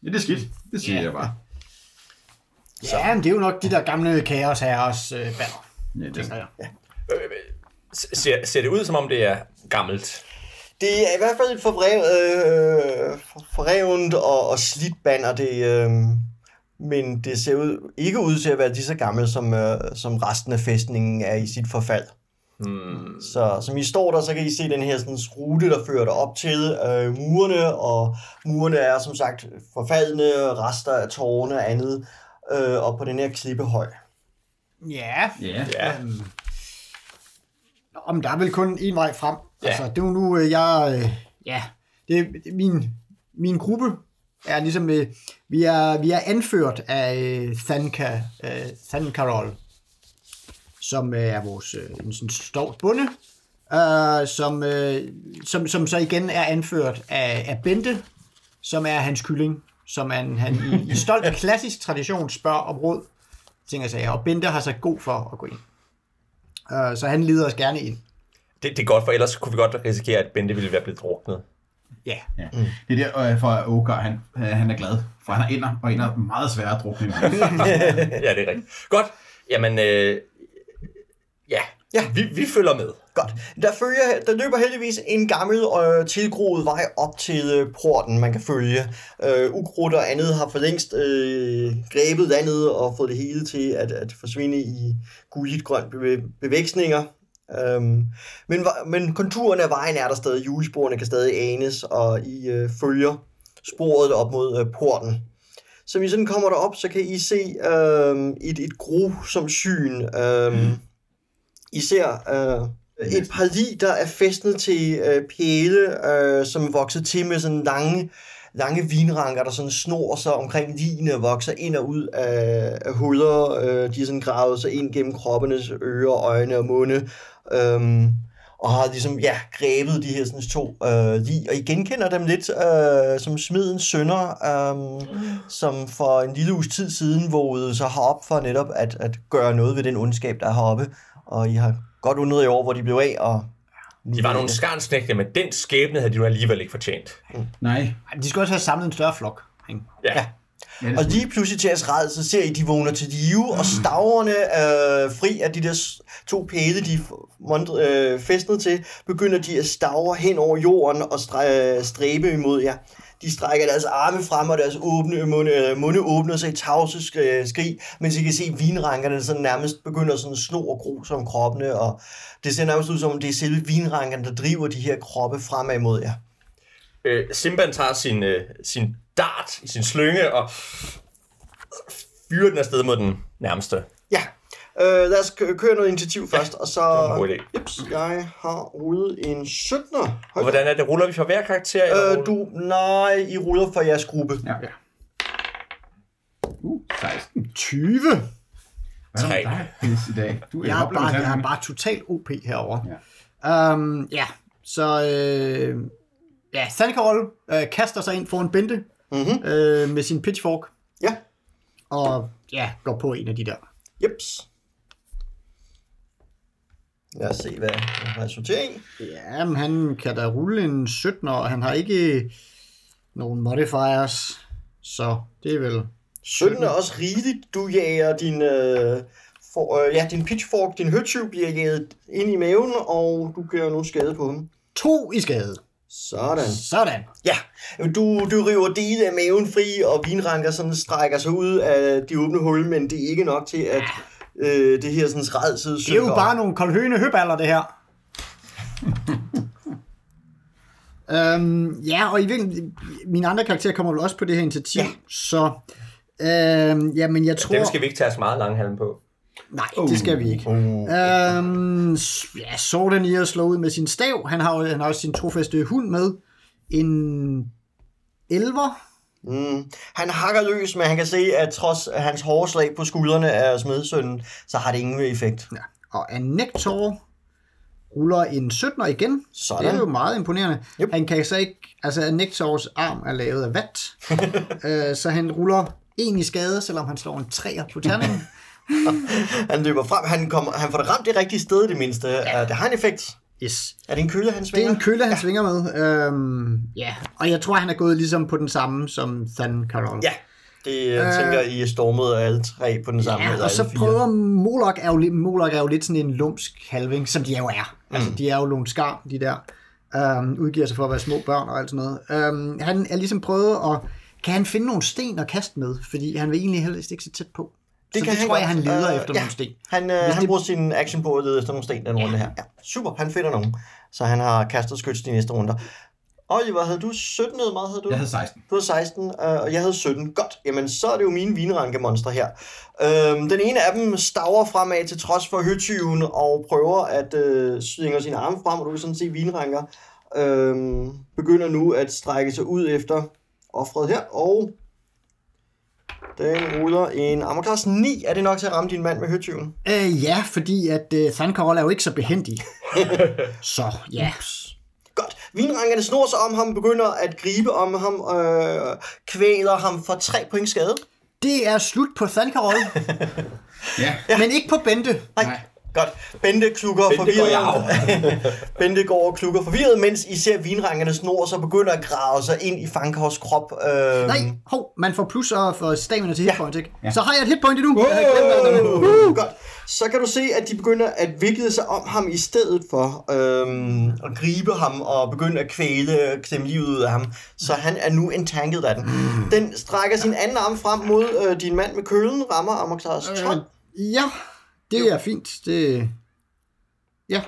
S4: Ja, det er skidt. Det siger
S3: Ja.
S4: jeg bare.
S3: Ja, men det er jo nok de der gamle kaos herres øh, banner.
S4: Ja, det
S3: tænker
S4: er,
S3: jeg.
S1: Øh, øh, Ser, ser det ud, som om det er gammelt?
S2: Det er i hvert fald et forvrevet, øh, for- forrevent og, og slidt banner, det, øh, men det ser ud, ikke ud til at være lige så gammelt, som, øh, som resten af fæstningen er i sit forfald.
S1: Hmm.
S2: Så som I står der, så kan I se den her sådan, rute, der fører dig op til øh, murene, og murene er som sagt forfaldne, rester af tårne og andet, øh, og på den her klippehøj.
S3: Ja,
S4: ja.
S1: Ja.
S3: Øhm, om der er vel kun en vej frem.
S1: Ja.
S3: Ja. Altså, det er jo nu, øh, jeg... øh, Ja, det er det er min, min gruppe er ligesom... øh, Vi er, vi er anført af øh, Thanka, øh, Thankarol, som øh, er vores øh, en sådan stor bonde, øh, som, øh, som, som så igen er anført af, af Bente, som er hans kylling, som han, han i, i stolt klassisk tradition spørger om råd ting og sager. Og Bente har sagt god for at gå ind. Uh, så han lider os gerne ind.
S1: Det, det er godt, for ellers kunne vi godt risikere, at Bente ville være blevet druknet.
S3: Ja.
S4: Ja. Det er der, øh, for at Åker, han, øh, han er glad. For han er ender, og ender er meget svært at drukne.
S1: ja, det er rigtigt. Godt. Jamen, øh, ja.
S2: Ja.
S1: Vi, vi følger med.
S2: Godt. Der, følger, der løber heldigvis en gammel øh, tilgroet vej op til øh, porten, man kan følge. Øh, ukrudt og andet har for længst øh, grebet landet og fået det hele til at, at forsvinde i gulligt grønt bevæ- bevæksninger. Øhm, men, va- men konturen af vejen er der stadig, julesporene kan stadig anes, og I øh, følger sporet op mod øh, porten. Som I sådan kommer derop, så kan I se øh, et, et grusomt syn. Øh, mm. I ser øh, et par lig, der er fæstnet til øh, pæle, øh, som er vokset til med sådan lange, lange vinranker, der sådan snor sig omkring ligene og vokser ind og ud af, af huller. Øh, de er sådan gravet sig ind gennem kroppenes ører, øjne og munde. Øhm, og har ligesom, ja, grebet de her sådan, to øh, lig, og I genkender dem lidt øh, som smidens sønner, øh, som for en lille uges tid siden vågede sig herop for netop at, at gøre noget ved den ondskab, der er heroppe, og I har godt undret jer over, hvor de blev af, og...
S1: De var nogle skarnsnægte, men den skæbne havde de nu alligevel ikke fortjent.
S4: Nej.
S3: Ej, De skulle også have samlet en større flok. ikke?
S1: Ja.
S2: Ja.
S1: ja.
S4: Ja, det
S2: Og
S4: er
S2: lige pludselig til jeres ræd, så ser I, de vågner til live, og staverne øh, fri af de der s- to pæle, de er f- mont- øh, fæstnet til, begynder de at stavre hen over jorden og stre- øh, stræbe imod jer. De strækker deres arme frem, og deres åbne munde, øh, munde åbner sig i tavse sk- øh, skrig, mens I kan se vinrankerne sådan nærmest begynder sådan at sno og gro som kroppene, og det ser nærmest ud som om, det er selve vinrankerne, der driver de her kroppe fremad imod jer.
S1: Øh, Simban tager sin, øh, sin dart i sin slynge og fyrer den afsted mod den nærmeste.
S2: Ja, øh, lad os kø- køre noget initiativ først, og så...
S1: Det var en god idé.
S2: Jeps, jeg har rullet en 17'er.
S1: Og
S2: Hold
S1: hvordan er det? Ruller vi for hver karakter? eller
S2: øh,
S1: ruller-
S2: du, nej, I ruller for jeres gruppe.
S4: Ja. ja. Uh, 16.
S3: 20!
S4: Hvad
S1: Tre.
S4: er der pis i dag? Du er
S3: Jeg er
S4: hopper
S3: bare,
S4: med
S3: jeg er
S4: tanden.
S3: bare totalt OP herovre. Ja. Um, ja. Så Øhm, øh, Ja, Sandkarol øh, kaster sig ind foran Bente mm-hmm. øh, med sin pitchfork
S2: Ja.
S3: og ja, går på en af de der.
S2: Jeps. Lad os se, hvad jeg resulterer i.
S3: Ja, men han kan da rulle en 17, og han har ikke nogen modifiers, så det er vel...
S2: 17 er også rigeligt. Du jager din, øh, for, øh, ja, din pitchfork, din høtyv bliver jaget ind i maven, og du gør nu skade på ham.
S3: To i skade.
S2: Sådan.
S3: Sådan.
S2: Ja, Jamen, du, du river dele af maven fri, og vinranker sådan strækker sig ud af de åbne hul, men det er ikke nok til, at øh, det her sådan redside
S3: Ah. Det er jo bare nogle koldhøne høballer, det her. øhm, ja, og i virkeligheden, mine andre karakterer kommer vel også på det her initiativ, ja. så... Øhm, ja, men jeg tror...
S1: Dem skal vi Uh. ikke tage os meget lang halm på.
S3: Nej, det skal vi ikke.
S2: Uh.
S3: Øhm, s- ja, Sorten i at slå ud med sin stav. Han har, jo- han har også sin trofaste hund med. En elver.
S2: Mm. Han hakker løs, men han kan se, at trods hans hårde slag på skuldrene af smedsønnen, så har det ingen effekt.
S3: Ja. Og Anektor ruller en 17'er igen.
S2: Sådan.
S3: Det er jo meget imponerende. Yep. Han kan så ikke... Altså, Anektors arm er lavet af vat. øh, så han ruller en i skade, selvom han slår en 3'er på terningen.
S2: Han løber frem, han, kommer, han får det ramt det rigtige sted i det mindste. Ja. Det har en effekt.
S3: Yes.
S2: Er det en køle, han
S3: Det
S2: svinger?
S3: er en kølle, han ja. svinger med. Øhm, ja, og jeg tror, han er gået ligesom på den samme som Than Karol.
S2: Ja, det øh... tænker I er stormet af alle tre på den samme.
S3: Ja,
S2: eller
S3: og så
S2: alle fire.
S3: prøver Molok er, jo, lidt- Molok er jo lidt sådan en lumsk halving, som de jo er.
S2: Mm.
S3: Altså, de er jo lumskar, de der. Øhm, udgiver sig for at være små børn og alt sådan noget. Øhm, han er ligesom prøvet at... Kan han finde nogle sten at kaste med? Fordi han vil egentlig helst ikke så tæt på. Det så det tror jeg, han
S2: godt.
S3: leder
S2: Øh,
S3: efter
S2: ja.
S3: nogle sten.
S2: Han, øh,
S3: Hvis
S2: han
S3: det-
S2: bruger sin action på at lede efter nogle sten den runde her. Ja, super, han finder nogen. Så han har kastet skyts de næste runder. Oliver, havde du 17 eller meget havde du?
S4: Jeg havde 16.
S2: Du havde 16, øh, og jeg havde 17. Godt, jamen så er det jo mine vinrankemonstre her. Øhm, den ene af dem staver fremad til trods for høtyven og prøver at øh, svinge sine arme frem, og du kan sådan se vinranker øhm, begynder nu at strække sig ud efter offret her, og den ruller en armorklasse 9. Er det nok til at ramme din mand med høtyven?
S3: Øh, ja, fordi at øh, Than Karol er jo ikke så behendig. så ja.
S2: Godt. Vinrankerne snor sig om ham, begynder at gribe om ham, øh, kvæler ham for 3 point skade.
S3: Det er slut på Than Karol,
S4: Ja.
S3: men ikke på Bente.
S2: Nej.
S4: Nej.
S2: Godt. Bente klukker
S1: Bente går
S2: forvirret.
S1: i arv.
S2: Bente går og klukker forvirret, mens I ser vinrankerne snor sig og begynder at grave sig ind i Fankhavs krop. Øh,
S3: Nej, hov, man får plusser for stamina til hitpoint, ikke? Så har jeg et hitpoint endnu. Jeg havde glemt, at den-
S2: Uh, godt. Så kan du se, at de begynder at vikle sig om ham i stedet for øhm, at gribe ham og begynde at kvæle og klemme livet ud af ham. Så han er nu entanket af den. Den strækker sin anden arm frem mod øh, din mand med kølen, rammer Amoklaus
S3: Øh.
S2: 12
S3: Ja, det er fint. Det,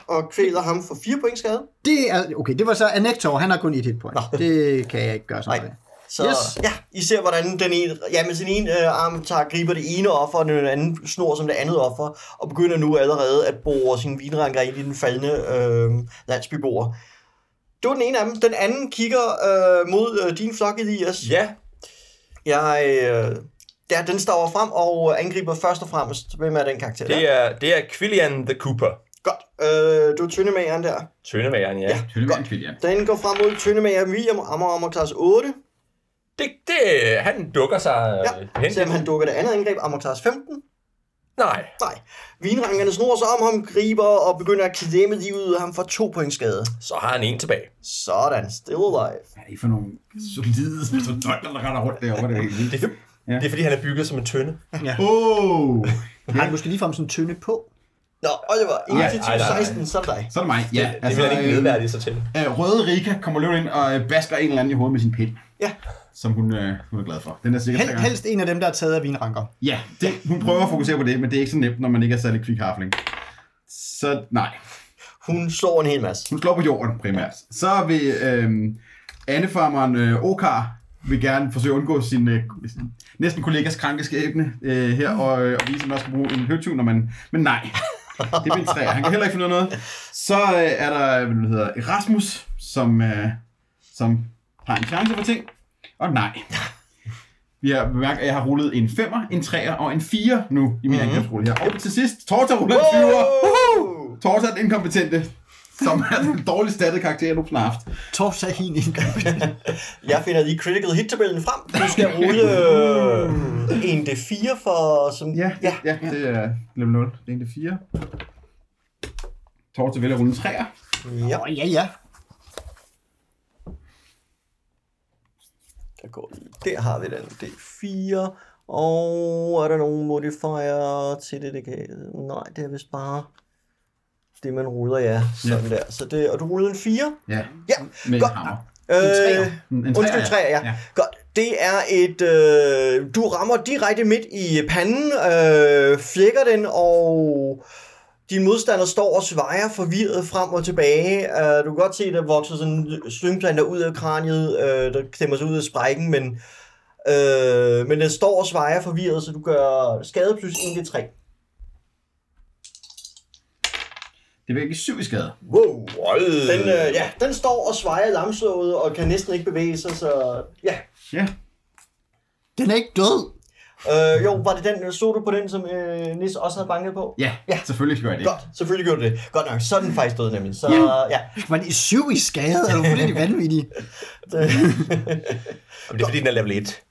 S2: og kvæler ham for 4 point skade.
S3: det er, okay, det var så Anektor, han har kun et hitpoint. Det kan jeg ikke gøre sådan
S2: Nej.
S3: noget.
S2: Så yes.
S3: Yes.
S2: ja, I ser, hvordan den ene, ja, med sin ene øh, arm tager, griber det ene offer, og den anden snor som det andet offer, og begynder nu allerede at bore sin vinranker ind i den faldende øh, landsbyboer. Det var den ene af dem. Den anden kigger øh, mod øh, din flok, Elias.
S1: Ja,
S2: Jeg, øh, ja, den står frem og angriber først og fremmest. Hvem er den karakter der?
S1: det er, det er Quillian the Cooper.
S2: Godt. Øh, du er tyndemageren der.
S1: Tøndemageren, ja. ja.
S4: Tølle med en kvinde, ja.
S2: Den går frem mod tyndemageren William Ammer Ammer klasse 8.
S1: Det, det, han dukker sig
S2: Ja,
S1: ja. hen.
S2: Selvom han dukker det andet angreb, Ammer klasse 15.
S1: Nej,
S2: Nej. Vinrankerne snor sig om ham, griber og begynder at klemme livet ud af ham for to point skade.
S1: så har han en tilbage.
S2: Sådan, still alive.
S4: Hvad er I for nogle solide mastodonter, der render rundt derovre? Det er helt vildt.
S1: Det, ja. det er fordi, han er bygget som en tønde.
S4: Oh!
S3: Har han måske ligefrem sådan en tynde på?
S2: Nå, Oliver,
S1: ej,
S2: initiativ
S1: nej, nej.
S2: 16, så er det dig.
S4: Så er det mig. Ja,
S1: Det
S2: altså,
S1: vil han ikke
S4: øh,
S1: nedværdige sig til.
S4: øh, Røde Rika kommer løbende ind og øh, basker en eller anden i hovedet med sin pind,
S2: Ja,
S4: som hun, øh, hun er glad for. Den er sikkert
S3: Hel, helst en af dem, der er taget af vinranker.
S4: Ja, det, hun prøver at fokusere på det, men det er ikke så nemt, når man ikke er særlig kvik harfling. Så nej,
S2: hun slår en hel masse.
S4: hun slår på jorden primært. Så vil øh, andefarmeren øh, Okar vil gerne forsøge at undgå sin øh, sin- næsten kollegas kranke skæbne øh, her, og, øh, og vise, at man også skal bruge en høtyv, når man... Men nej, det er min træer. Han kan heller ikke finde ud af noget. Så øh, er der, hvad det hedder, Erasmus, som, øh, som har en chance for ting. Og nej. Vi har bemærket, at jeg har rullet en femmer, en treer og en fire nu i min mm-hmm. angrebsrulle her. Og til sidst, Torta ruller en 20'er.
S2: Wow!
S4: Torta er den inkompetente. som er den dårligst stattede karakter, du har haft.
S3: Torsahin inkompetent.
S2: Jeg finder lige critical hit-tabellen frem. Du skal rulle øh, en D4 for... Som,
S4: Ja, ja, ja, det er level 0. Det er en til 4. Torte vælger at rulle en 3'er.
S2: ja.
S3: Åh, ja, ja.
S2: Der, går lige. der har vi den. D4. Og er der nogen modifier til det? det kan... Nej, det er vist bare det, man ruller, ja. Sådan der. Så det, og du rullede en 4?
S4: Ja,
S2: Ja.
S4: med
S2: Godt.
S4: en hammer.
S2: Øh,
S4: En- en træer,
S2: undskyld, træer, ja. ja. Godt. Det er et... Øh, du rammer direkte midt i panden, øh, flækker den, og din modstander står og svejer forvirret frem og tilbage. Øh, du kan godt se, der vokser sådan en slyngplanter ud af kraniet, øh, der klemmer sig ud af sprækken, men, øh, men den står og svejer forvirret, så du gør skade plus 1d3.
S4: Det vil ikke 7 i skade.
S2: Wow!
S1: Hold.
S2: Den, øh, ja, den står og svejer lamslået og kan næsten ikke bevæge sig, så ja,
S4: Ja.
S3: Den er ikke død.
S2: Øh, jo, var det den, så du på den, som øh, Nis også havde banket på?
S4: Ja,
S2: Ja.
S4: selvfølgelig gør jeg det.
S2: Godt, selvfølgelig gjorde du det. Godt nok, så er den faktisk død nemlig. Så ja,
S3: Var det syv i skade? Er du fuldstændig vanvittig?
S2: det,
S1: Jamen, det er fordi, den er level 1.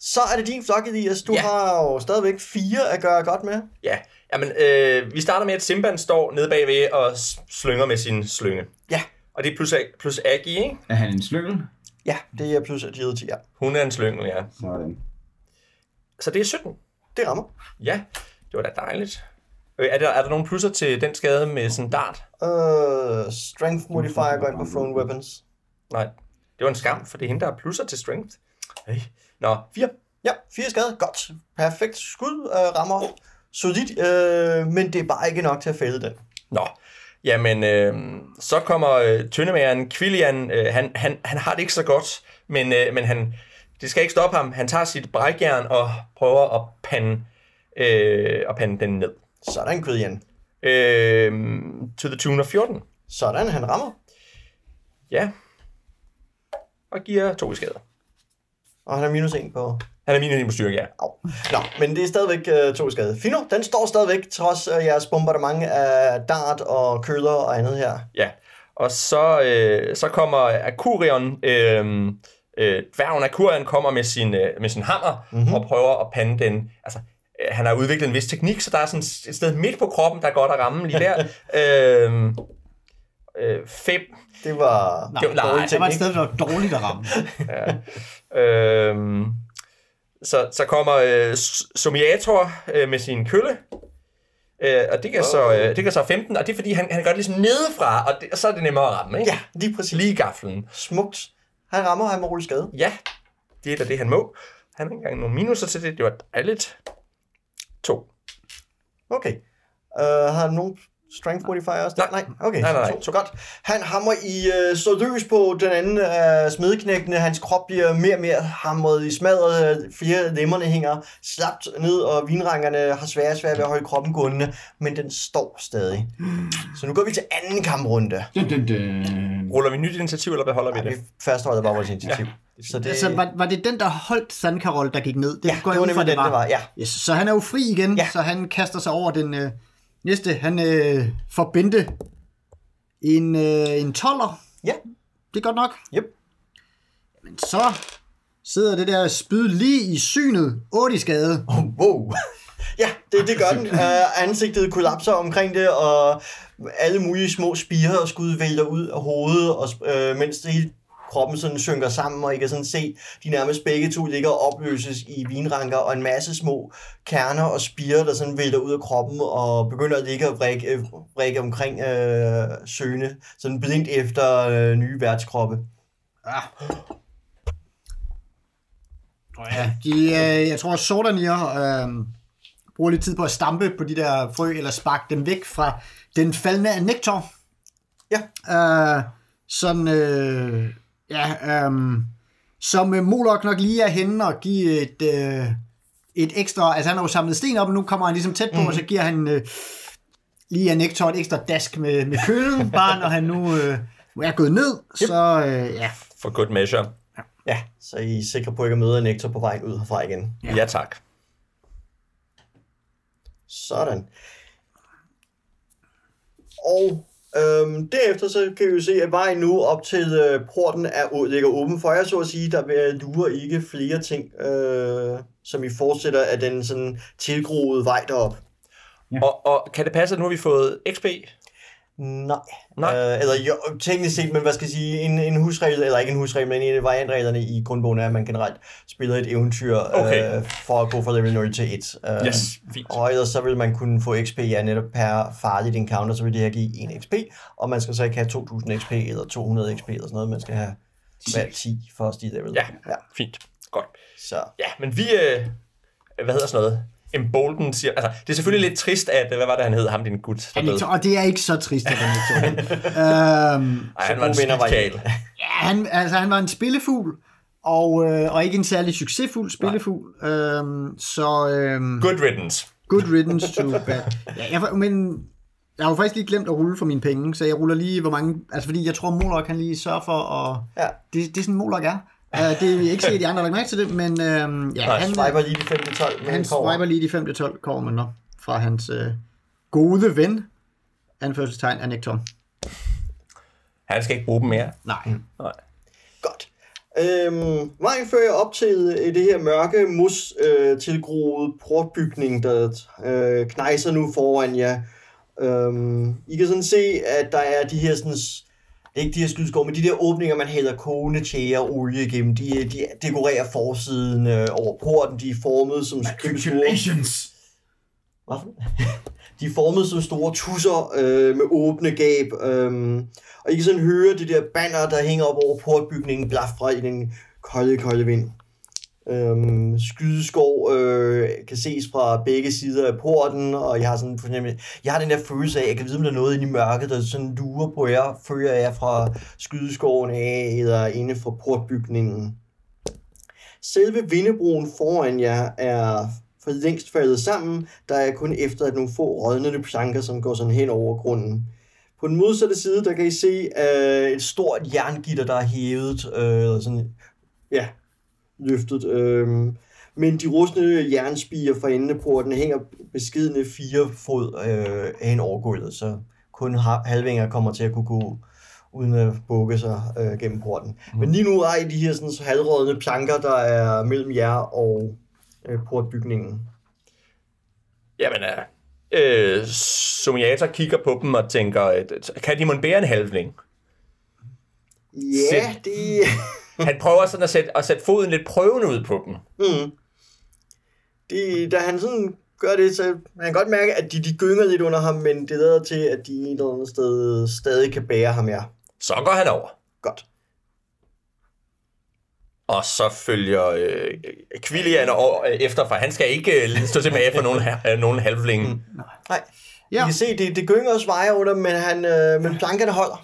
S2: så er det din flok, Elias. Du ja.
S1: Ja.
S2: har jo stadigvæk fire at gøre godt med.
S1: Ja, Jamen, øh, vi starter med, at Simban står nede bagved og s- slynger med sin slynge.
S2: Ja.
S1: Og det er plus, A- plus Aggie, ikke?
S4: Er han en slyngel?
S2: Ja, det er plus agility, ja.
S1: Hun er en slyngel, ja.
S4: Sådan.
S1: Så det er 17.
S2: Det rammer.
S1: Ja, det var da dejligt. Øh, er, der, er der nogle plusser til den skade med sådan en dart?
S2: Øh, strength modifier går ind på thrown weapons.
S1: Nej, det var en skam, for det er hende, der har plusser til strength. Hey. Nå, 4.
S2: Ja, fire skade. Godt. Perfekt skud øh, rammer. Solidt, øh, men det er bare ikke nok til at fælde den.
S1: Nå, jamen, øh, så kommer øh, tyndemageren Quillian. Øh, han, han, han har det ikke så godt, men, øh, men han, det skal ikke stoppe ham. Han tager sit brækjern og prøver at pande, øh, at pande den ned.
S2: Sådan, Gudjan.
S1: Øh, to the tune of 14.
S2: Sådan, han rammer.
S1: Ja. Og giver to i skader.
S2: Og han har minus en på
S1: Han er min ene på styrke, ja.
S2: Au. Nå, men det er stadigvæk øh, to i skade. Fino, den står stadigvæk, trods øh, jeres bombardement af dart og køler og andet her.
S1: Ja, og så, øh, så kommer Akurion, øh, øh, dværgen Akurion kommer med sin, øh, med sin hammer
S2: Mhm.
S1: mm-hmm. og prøver at pande den. Altså, øh, han har udviklet en vis teknik, så der er sådan et sted midt på kroppen, der er godt at ramme lige der. øh, øh, fem.
S2: Det var...
S1: Det var- nej,
S2: dårlig
S3: Det var et
S2: teknik.
S3: sted, der var dårligt at ramme.
S1: Øh, så, så kommer øh, S- Somiator øh, med sin kølle. Øh, og det kan, så, øh, det kan så 15, og det er fordi, han, han gør det ligesom nedefra, og, det, og så er det nemmere at ramme, ikke?
S2: Ja, lige præcis.
S1: Lige i gaflen.
S2: Smukt. Han rammer, han må rulle skade.
S1: Ja, det er da det, han må. Han har ikke engang nogen minuser til det. Det var dejligt. To.
S2: Okay. Uh, har han nogen strength modifier også?
S1: Nej.
S2: okay.
S1: Nej, nej, nej.
S2: Så, så godt. Han hammer i øh, så løs på den anden øh, smedknækkende. Hans krop bliver mere og mere hamret i smadret. Øh, Flere lemmerne hænger slapt ned, og vinrangerne har svære og svære ved at holde kroppen gående. Men den står stadig. Så nu går vi til anden kamprunde.
S4: Dun, dun, dun.
S1: Ruller vi nyt initiativ, eller beholder vi
S2: Vi
S1: det?
S2: fastholder bare vores initiativ. Ja. Så det,
S3: Altså, var, var det den, der holdt Sandkarol, der gik ned? Det
S2: ja,
S3: går
S2: det
S3: jeg
S2: var
S3: ud fra,
S2: nemlig den, det var. Ja.
S3: Yes, så han er jo fri igen,
S2: Ja.
S3: ja. så han kaster sig over den øh, næste. Han øh, forbindte en, øh, en toller.
S2: Ja.
S3: Det er godt nok.
S2: Yep.
S3: Men så sidder det der spyd lige i synet. 8 i skade.
S2: Oh, wow. Ja, det, det gør den. Uh, ansigtet kollapser omkring det, og alle mulige små spirer og skud vælter ud af hovedet, og, uh, mens det hele kroppen sådan synker sammen, og I kan sådan se, de nærmest begge to ligger og opløses i vinranker, og en masse små kerner og spirer, der sådan vælter ud af kroppen, og begynder at ligge og vrikke, øh, vrikke omkring øh, søgende, sådan blindt efter øh, nye værtskroppe.
S3: Ja, de, øh, jeg tror, Sordanier øh, bruger lidt tid på at stampe på de der frø, eller sparke dem væk fra den faldende af nektar.
S2: Ja.
S3: Øh, sådan, øh, ja, øh, som øh, Molok nok lige er henne og give et, øh, et ekstra, altså han har jo samlet sten op, og nu kommer han ligesom tæt på, mm. og så giver han øh, lige af nektar et ekstra dask med, med kølen, bare når han nu øh, er gået ned, så øh, ja.
S1: For good measure.
S2: Ja, så I er sikre på ikke at møde en nektar på vejen ud herfra igen.
S1: Ja, ja tak.
S2: Sådan. Og Øhm, derefter så kan vi jo se, at vejen nu op til øh, porten er, å- ligger åben for jer, så at sige. Der vil- lurer ikke flere ting, øh, som I fortsætter af den sådan tilgroede vej derop.
S1: Og, og kan det passe, at nu har vi fået XP?
S2: Nej.
S1: Nej.
S2: Øh, eller jo, teknisk set, men hvad skal jeg sige, en, en husregel, eller ikke en husregel, men en af variantreglerne i grundbogen er, at man generelt spiller et eventyr
S1: Okay.
S2: øh, for at gå fra level 0 til 1. Øh,
S1: Yes, fint.
S2: Og ellers så vil man kunne få XP, ja, netop per farligt encounter, så vil det her give 1 XP, og man skal så ikke have 2000 XP eller 200 XP eller sådan noget, man skal have hver 10 for at stige level.
S1: Ja.
S2: ja.
S1: Fint. Godt.
S2: Så
S1: Ja, men vi... Øh, hvad hedder sådan noget? Embolden siger... Altså, det er selvfølgelig lidt trist, at... øh, Hvad var det, han hed? Ham, din gut. Der
S3: Han
S1: døde.
S3: ikke, og det er ikke så trist, at han ikke tog den. øhm,
S1: Ej, han var
S2: Så
S1: en
S2: gode venner var I
S1: skidkagel.
S2: ikke.
S3: ja, han, altså, han var en spillefugl, og, øh, og ikke en særlig succesfuld spillefugl. Øhm, så øhm,
S1: Good riddance.
S3: good riddance to bad. Ja, jeg, var- men jeg har jo faktisk lige glemt at rulle for mine penge, så jeg ruller lige, hvor mange... Altså, fordi jeg tror, Molok kan lige sørge for at...
S2: Ja.
S3: Det, det er sådan, Molok er. Uh, det er ikke set, de andre har lagt mærke til det, men øhm, ja,
S1: Nej,
S3: han,
S2: swiper lige de 5-12 med
S3: han
S2: en kover.
S3: swiper lige de 5-12 kommer man op fra hans øh, gode ven, anførselstegn af Nekton.
S1: Han skal ikke bruge dem mere.
S3: Nej.
S2: Godt. Øhm, vejen fører op til øh, det her mørke, mos øh, tilgroede portbygning, der øh, knejser nu foran jer. Øhm, I kan sådan se, at der er de her sådan, s- det er ikke de her skydeskår, men de der åbninger, man hælder kogende tjære og olie igennem, de, øh, de dekorerer forsiden øh, over porten, de er formet som kæmpe store
S4: Congratulations!
S2: hvad for- De er formet som store tusser øh, med åbne gab. Øh, og I kan sådan høre de der banner, der hænger op over portbygningen, blafra i den kolde, kolde vind. Øhm, skydeskov øh, kan ses fra begge sider af porten, og jeg har, sådan fornemmelse, jeg har den der følelse af, jeg kan vide, om der er noget inde i mørket, der sådan lurer på jer, fører jer fra skydeskoven af, eller inde fra portbygningen. Selve vindebroen foran jer er for længst faldet sammen. Der er kun efter at nogle få rådnende planker, som går sådan hen over grunden. På den modsatte side, der kan I se øh, et stort jerngitter, der er hævet, øh, eller sådan, ja, løftet. Øh, men de rustne jernspiger fra enden af porten hænger beskidende fire fod øh, hen over gulvet, så kun ha- halvinger kommer til at kunne gå uden at bukke sig øh, gennem porten. Mm. Men lige nu er I de her sådan, halvrådne planker, der er mellem jer og øh, portbygningen.
S1: Jamen, øh, øh, Sumiata kigger på dem og tænker, at, kan de mon bære en halvling?
S2: Ja,
S1: Sæt.
S2: det...
S1: Mm. Han prøver sådan at sætte, at sætte foden lidt prøvende ud på dem.
S2: Mm. det da han sådan gør det, så man kan godt mærke, at de, de gynger lidt under ham, men det lader til, at de et eller andet sted stadig kan bære ham her.
S1: Så går han over.
S2: Godt.
S1: Og så følger øh, Quillian over, øh, efter, for han skal ikke øh, stå tilbage for nogen, ha- øh, nogen halvling.
S2: Nej. Ja. I
S3: Ja.
S2: kan se, det, det gynger og svejer under, men, han, øh, men plankerne holder.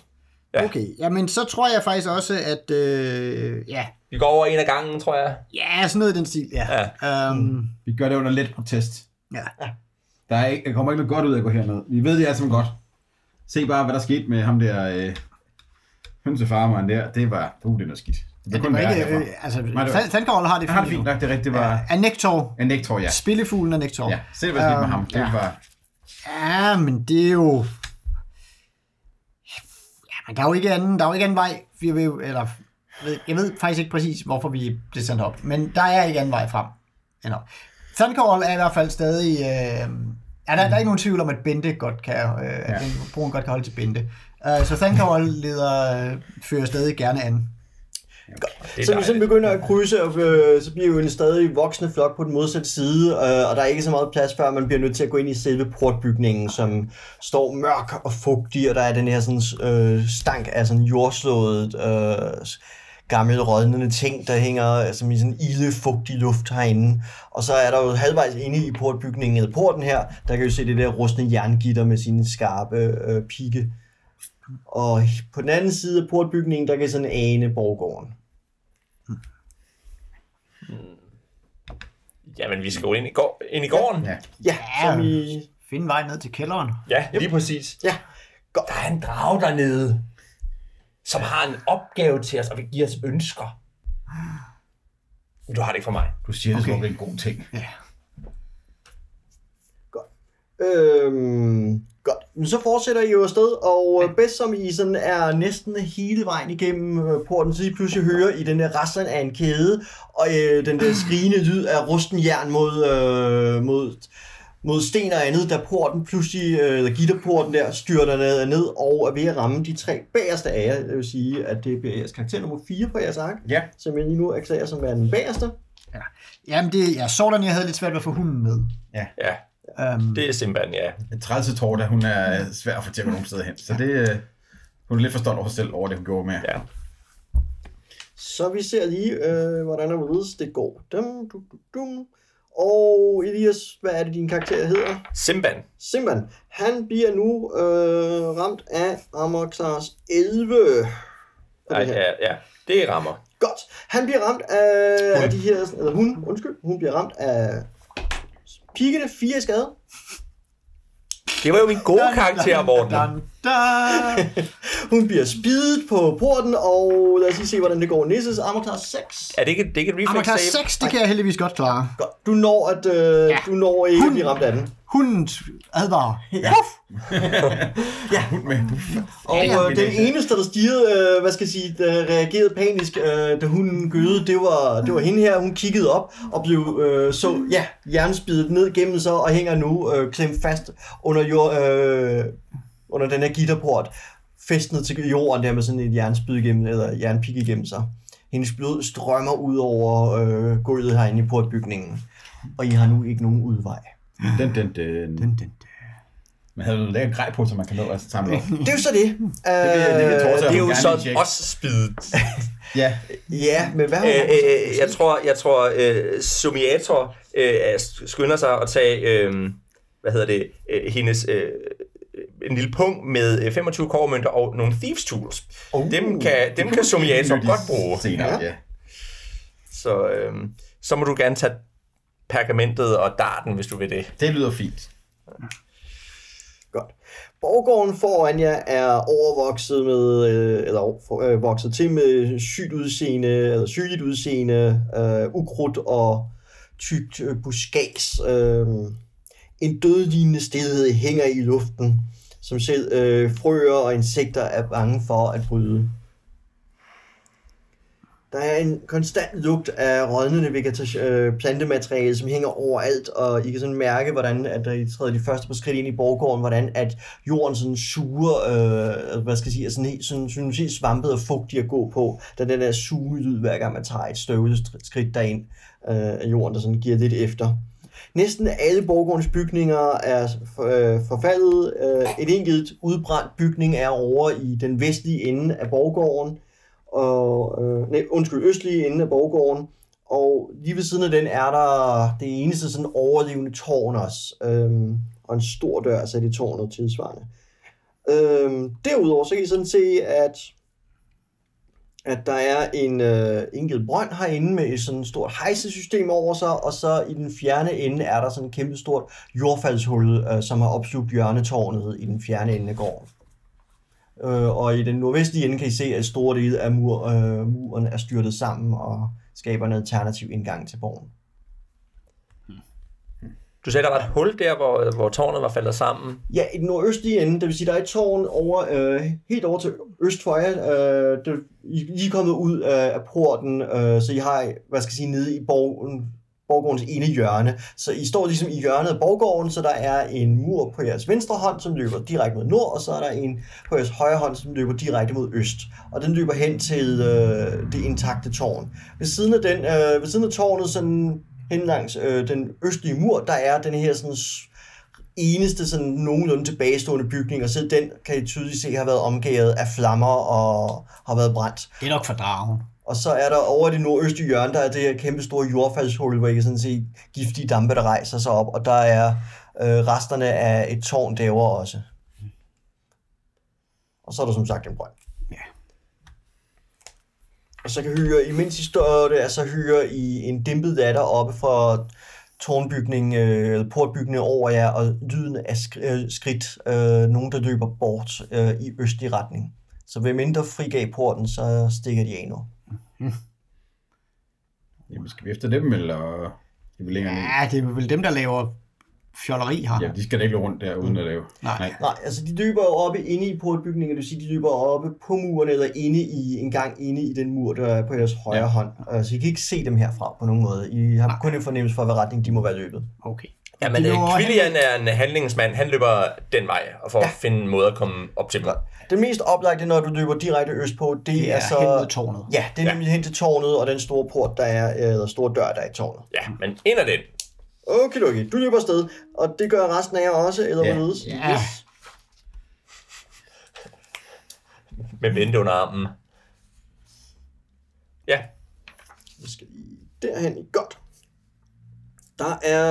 S1: Ja.
S3: Okay, jamen så tror jeg faktisk også, at øh, ja,
S1: Vi går over en af gangen, tror jeg.
S3: ja, sådan noget i den stil, ja. ja. Um,
S4: Vi gør det under let protest.
S3: ja.
S4: Der, er ikke, der kommer ikke noget godt ud af at gå herned. Vi ved det altså godt. Se bare, hvad der skete med ham der øh, hønsefarmeren der. Det var, uh, det er noget skidt. Det,
S3: ja
S4: ja,
S3: det var ikke, øh, altså,
S4: Nej, det var-
S3: Sandkorn har det
S4: Han har det fint nok, det er rigtigt. Det var
S3: Er Nektor,
S4: en nektor, ja.
S3: spillefuglen af Nektor.
S4: ja. Se, hvad der skete med ham. Det
S3: ja.
S4: var,
S3: Ja, men det er jo... Ja, men der er jo ikke anden, der er jo ikke anden vej. Vi vil, jo- eller, ved- jeg ved faktisk ikke præcis, hvorfor vi blev sendt op, men der er ikke anden vej frem. End op. Thundercall er i hvert fald stadig... Øh, ja, der, der er ikke nogen tvivl om, at Bente godt kan, øh, at den, broen godt kan holde til Bente. Uh, så Thundercall leder, øh, fører stadig gerne an.
S1: Det
S2: Så
S1: er
S2: vi sådan
S1: dejligt.
S2: begynder at krydse, og øh, så bliver jo en stadig voksende flok på den modsatte side, øh, og der er ikke så meget plads, før man bliver nødt til at gå ind i selve portbygningen, som står mørk og fugtig, og der er den her sådan, øh, stank af sådan jordslået øh, gamle rådnende ting, der hænger øh, som i sådan ildefugtig luft herinde. Og så er der jo halvvejs inde i portbygningen, eller porten her, der kan I jo se det der rustne jerngitter med sine skarpe øh, pigge. Og på den anden side af portbygningen, der kan I sådan ane borggården.
S1: Jamen, vi skal jo ind i, går, ind i gården.
S4: ja.
S2: Ja, som i...
S7: Find vej ned til kælderen.
S1: Ja, lige præcis.
S2: Ja,
S1: Godt. Der er en drage dernede, som har en opgave til os, og vil give os ønsker. Men du har det ikke for mig.
S4: Du siger det, okay. det er en god ting.
S2: øhm, Godt. Men så fortsætter I jo afsted, og øh, bedst som I sådan er næsten hele vejen igennem øh, porten, så I pludselig hører I den der resten af en kæde, og øh, den der skrigende lyd af rusten jern mod, øh, mod, mod sten og andet, da porten pludselig, øh, gitterporten der, styrter ned, ned og er ved at ramme de tre bagerste af jer. Det vil sige, at det bliver jeres karakter nummer 4 på jeres ark,
S1: Ja.
S2: som jeg lige nu erklærer som værende den bagerste.
S3: Ja. Jamen, det, ja, Sordan, jeg havde lidt svært ved at få hunden med.
S1: Ja,
S3: Um,
S1: det er simpelthen, ja.
S4: En trælse tårte, hun er øh, svær at få til at gå nogen steder hen. Så det, øh, hun er lidt forstået over sig selv over det, hun gjorde med.
S1: Ja.
S2: Så vi ser lige, øh, hvordan og hvorledes det går. Dum, dum, dum, dum. Og Elias, hvad er det, din karakter hedder?
S1: Simban.
S2: Simban. Han bliver nu øh, ramt af armor class 11.
S1: Ja,
S2: Ej, ja.
S1: ja, ja, det rammer.
S2: Godt. Han bliver ramt af, af de her... Eller hun, undskyld. Hun bliver ramt af pigene. Fire skade.
S1: Det var jo min gode karakter, Morten.
S3: da,
S2: Hun bliver spidet på porten, og lad os lige se, hvordan det går. Nisses armor class 6.
S1: Er det ikke, det er ikke et
S3: Armor
S1: reflex
S3: class
S1: save?
S3: 6, det kan jeg heldigvis godt klare.
S2: Godt. Du når, at, øh, ja. du når ikke at blive ramt af den.
S3: Hunden advarer. Ja.
S4: Hun med.
S2: Og øh, den eneste, der stirrede, øh, hvad skal jeg sige, der reagerede panisk, øh, da hun gøde, det var, det var hende her. Hun kiggede op og blev øh, så, ja, jernspidet ned gennem sig og hænger nu øh, klemt fast under, jord, øh, under den her gitterport. Fæstnet til jorden der med sådan et jernspyd igennem, eller jernpik igennem sig. Hendes blod strømmer ud over øh, gulvet herinde i portbygningen. Og I har nu ikke nogen udvej.
S4: øh, Den, den, den.
S3: Den, den, den.
S4: Man havde jo lækker grej på, så man kan nå at samle op.
S2: Det er jo så det. Øh,
S4: det kan Torse
S1: Det er
S4: hun
S1: jo
S4: Altså, gerne lige
S1: så
S4: tjekke.
S1: også spidet.
S4: Ja,
S2: Ja, men hvad har hun
S1: Øh, øh, jeg tror, jeg tror øh, Sumiator øh, er- skynder sig at tage øh, hvad hedder det, øh, hendes øh, en lille pung med øh, 25 kårmønter og nogle thieves tools.
S2: Uh,
S1: Uh, dem kan, dem kan Sumiator
S4: nyttig
S1: godt bruge.
S4: Senere, ja.
S1: Så, øh, så må du gerne tage pergamentet og darten, hvis du vil det.
S4: Det lyder fint.
S2: Godt. Borggården foran jer er overvokset med, øh, eller over- øh, vokset til med sygt udseende, eller sygeligt udseende, øh, ukrudt og tykt øh, buskads. Øh, en dødlignende stilhed hænger i luften, som selv øh, frøer og insekter er bange for at bryde. Der er en konstant lugt af rådnende vegetas- øh, plantemateriale, som hænger overalt, og I kan sådan mærke, hvordan at da I træder de første på skridt ind i borggården, hvordan at jorden sådan suger, øh, hvad skal jeg sige, er sådan helt sådan, sådan, helt svampet og fugtig at gå på, da den der sugelyd, hver gang man tager et støvlet str- skridt derind øh, af jorden, der sådan giver lidt efter. Næsten alle borggårdens bygninger er øh, forfaldet. Øh, et enkelt udbrændt bygning er over i den vestlige ende af borggården, og, øh, nej, undskyld, østlige ende af borggården, og lige ved siden af den er der det eneste sådan overlevende tårn også, øhm, og en stor dør sat i tårnet tilsvarende. Øhm, derudover så kan I sådan se, at, at der er en øh, enkelt brønd herinde med et sådan stort hejsesystem over sig, og så i den fjerne ende er der sådan et kæmpe stort jordfaldshul, øh, som har opslugt hjørnetårnet i den fjerne ende af gården. Øh, og i den nordvestlige ende kan I se, at store dele af mur, øh, muren er styrtet sammen og skaber en alternativ indgang til borgen.
S1: Du sagde, der var et hul der, hvor, hvor tårnet var faldet sammen.
S2: Ja, i den nordøstlige ende, det vil sige, der er et tårn over, øh, helt over til øst for jer. Øh, det, I I er lige kommet ud af, af porten, øh, så I har, hvad skal jeg sige, nede i borgen, borggårdens ene hjørne. Så I står ligesom i hjørnet af borggården, så der er en mur på jeres venstre hånd, som løber direkte mod nord, og så er der en på jeres højre hånd, som løber direkte mod øst. Og den løber hen til øh, det intakte tårn. Ved siden af, den, øh, ved siden af tårnet, sådan hen langs øh, den østlige mur, der er den her sådan s- eneste sådan nogenlunde tilbagestående bygning, og selv den kan I tydeligt se har været omgivet af flammer og har været brændt.
S3: Det er nok for dragen.
S2: Og så er der over i det nordøstlige hjørne, der er det her kæmpe store jordfaldshul, hvor I kan sådan se giftige dampe, der rejser sig op, og der er øh, resterne af et tårn derovre også. Og så er der som sagt en brønd. Og så kan hyre, imens I står der, så hyrer I en dæmpet datter oppe fra tårnbygningen, øh, eller portbygningen over jer, og lyden af sk- øh, skridt, øh, nogen der løber bort øh, i østlig retning. Så hvem end der frigav porten, så stikker de af nu.
S4: Jamen, skal vi efter dem, eller skal vi længere ned?
S3: Ja, det er vel dem, der laver fjolleri her.
S4: Ja, de skal da ikke løbe rundt der uden at lave.
S3: Nej.
S2: Nej, altså de dyber jo oppe inde i portbygningen, det vil sige, de dyber oppe på muren, eller inde i, en gang inde i den mur, der er på jeres højre ja. hånd. Altså I kan ikke se dem herfra på nogen måde. I har kun en fornemmelse for, hvad retning de må være løbet.
S3: Okay.
S1: Jamen,
S3: De
S1: øh,
S3: løber hen-
S1: Quillian er en handlingsmand. Han løber den vej og for ja. at finde en måde at komme op til dem.
S2: Den mest oplagte, når du løber direkte østpå, det,
S3: Det
S2: det er,
S3: er
S2: så...
S3: hen ved tårnet.
S2: Ja, det er
S1: Ja.
S2: nemlig hen til tårnet og den store port, der er, øh, eller store dør, der er i tårnet.
S1: Ja, men ind ad den.
S2: Okay, okay. Du løber afsted, og det gør resten af jer også, eller
S4: Ja.
S2: hvorledes?
S3: Ja.
S2: Yes.
S1: Med vente under armen. Ja,
S2: Vi skal lige derhen i godt. Der er,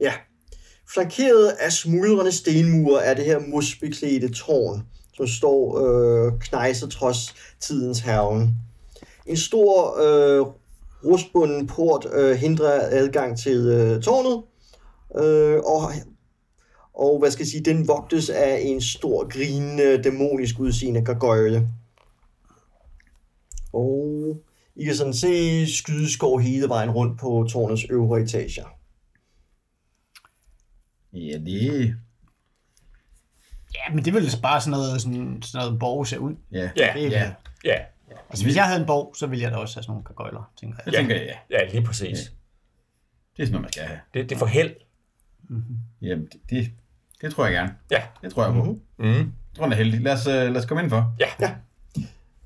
S2: ja, flankeret af smuldrende stenmure er det her musbeklædte tårn, som står øh, knejset trods tidens herven. En stor øh, rustbunden port øh, hindrer adgang til øh, tårnet, øh, og, og hvad skal jeg sige, den vogtes af en stor, grinende, dæmonisk udseende gargoyle. Og I kan sådan se skydeskov hele vejen rundt på tårnets øvre etager.
S4: Ja, det...
S3: ja, men det ville bare sådan noget, sådan, sådan noget borg ser ud.
S4: Ja.
S1: ja,
S3: Det er
S4: Ja.
S3: det.
S1: ja,
S3: Altså, hvis jeg havde en borg, så ville jeg da også have sådan nogle gargoyler, tænker jeg.
S4: Jeg tænker, ja.
S1: ja, lige præcis.
S4: Det er sådan noget, man skal have.
S1: Det, det er for held.
S4: Jamen, det, det, det tror jeg gerne.
S1: Ja.
S4: Det tror jeg på. Mm-hmm.
S1: Mm.
S4: Jeg tror, den er heldig. Lad os, øh, lad os komme indenfor.
S1: Ja,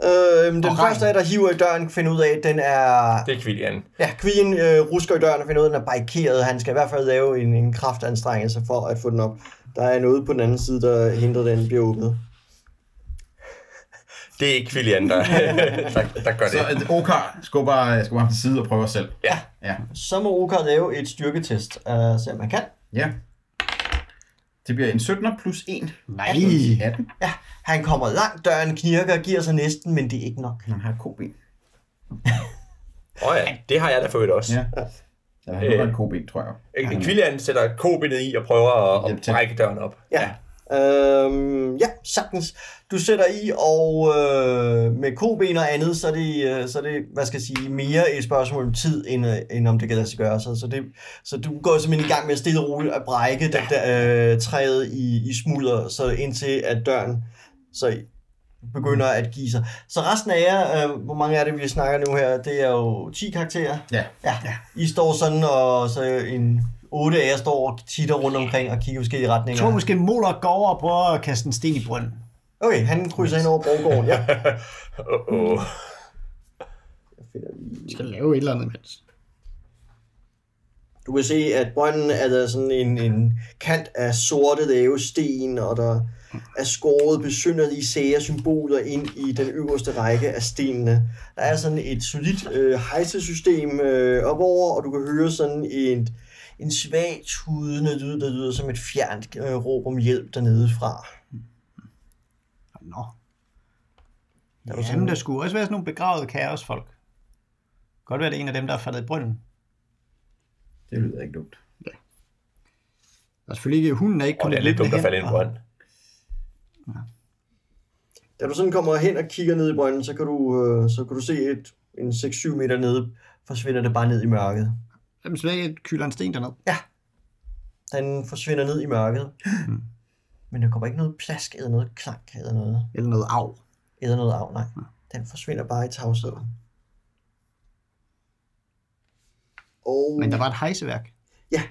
S2: Øh, den
S3: Og regn.
S2: første af der hiver i døren, finder ud af, at den er...
S1: det er Quillian.
S2: Ja, Queen øh, rusker i døren og finder ud af, at den er barrikeret. Han skal i hvert fald lave en, en kraftanstrengelse for at få den op. Der er noget på den anden side, der hindrer, at den bliver åbnet.
S1: Det er ikke Quillian, der, der, der gør
S4: Så
S1: det.
S4: øh, Okar skubber, øh, skubber ham til side og prøver selv.
S1: Ja,
S4: Ja.
S2: Så må Oka lave et styrketest, øh, se om han kan.
S4: ja. Det bliver en 17'er plus 1.
S3: Nej.
S4: 18.
S2: Ja, han kommer langt, døren knirker og giver sig næsten, men det er ikke nok.
S4: Han har et koben.
S1: åh oh, ja, det har jeg da for øvrigt også.
S4: Ja. Eller han har et koben, tror jeg.
S1: Øh, Quillian sætter kobenet i og prøver at,
S4: Hjælp
S1: at
S4: til.
S1: brække døren op.
S2: Ja. Øhm, ja, sagtens. Du sætter i, og øh, med koben og andet, så er, det, øh, så er det, hvad skal jeg sige, mere et spørgsmål om tid, end, øh, end om det kan lade sig gøre. Så, så, det, så du går simpelthen i gang med at stille og roligt at brække ja. det der, øh, træet i, i smulder, så indtil at døren så begynder at give sig. Så resten af jer, øh, hvor mange er det, vi snakker nu her, det er jo 10 karakterer.
S4: Ja.
S2: Ja, I står sådan, og så en otte af jer står og titter rundt omkring og kigger i forskellige
S3: Jeg
S2: retninger.
S3: tror måske, Molok går over og prøver at kaste en sten i brønden.
S2: Okay, han krydser ind over Borggården, ja.
S1: Oh, oh.
S3: Vi skal lave et eller andet imens.
S2: Du kan se, at brønden er der sådan en, en kant af sorte lave sten, og der er skåret besynderlige sære symboler ind i den øverste række af stenene. Der er sådan et solidt øh, hejsesystem øh, opover, og du kan høre sådan en, en svag tudende lyd, der lyder som et fjernt øh, råb om hjælp dernede fra.
S3: Nå. Der, Jamen, der skulle også være sådan nogle begravede kaosfolk. Godt være, det er en af dem, der er faldet i brønden.
S4: Det lyder ikke dumt.
S3: Og selvfølgelig ikke, hunden er ikke
S1: Og det
S3: kommet
S1: er lidt dumt at
S3: løbende
S1: falde i
S3: hen.
S1: en brønd.
S2: Da du sådan kommer hen og kigger ned i brønden, så kan du, øh, så kan du se et, en 6-7 meter nede, forsvinder det bare ned i mørket.
S3: Jamen, så jeg kylder en sten derned.
S2: Den forsvinder ned i mørket.
S3: Mm.
S2: Men der kommer ikke noget plask eller noget klank eller noget,
S3: Eller noget af.
S2: eller noget af, nej.
S3: Mm.
S2: Den forsvinder bare i tavsheden. Og,
S3: Men der var et hejseværk.
S2: Ja.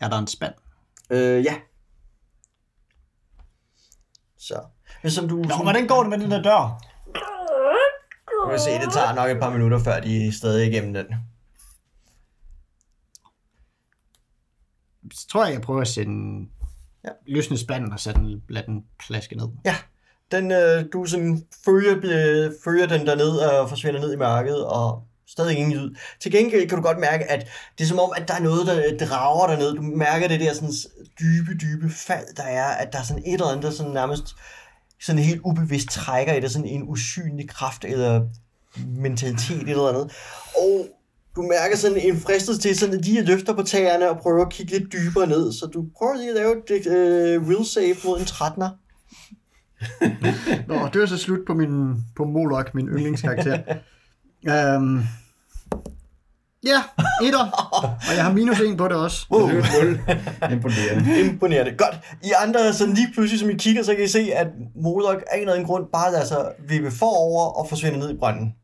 S3: Er der en spand?
S2: Øh, ja. Så. Men som du...
S3: Nå,
S2: som-
S3: hvordan går det med den der dør?
S2: Du vil se, det tager nok et par minutter, før de er stadig igennem den.
S3: Så tror jeg, jeg prøver at sende
S2: Ja.
S3: ja. løsne spanden og sætte den, lade den plaske ned.
S2: Ja, den, øh, du sådan følger, øh, følger den derned og forsvinder ned i mørket, og stadig ingen lyd. Til gengæld kan du godt mærke, at det er som om, at der er noget, der drager dernede. Du mærker det der sådan, dybe, dybe fald, der er, at der er sådan et eller andet, der sådan nærmest sådan helt ubevidst trækker i dig, sådan en usynlig kraft eller mentalitet et eller andet. Og du mærker sådan en fristelse til sådan lige at løfte på tagerne og prøve at kigge lidt dybere ned. Så du prøver lige at lave et øh, will save mod en 13'er.
S3: Nå, det var så slut på min på Molok, min yndlingskarakter. øhm,
S5: Ja, etter. og jeg har minus en på det også.
S1: Uh.
S2: Wow.
S4: Imponerende.
S2: Imponerende. Godt. I andre, sådan lige pludselig, som I kigger, så kan I se, at Modok af en eller anden grund bare lader sig vippe forover og forsvinder ned i brønden.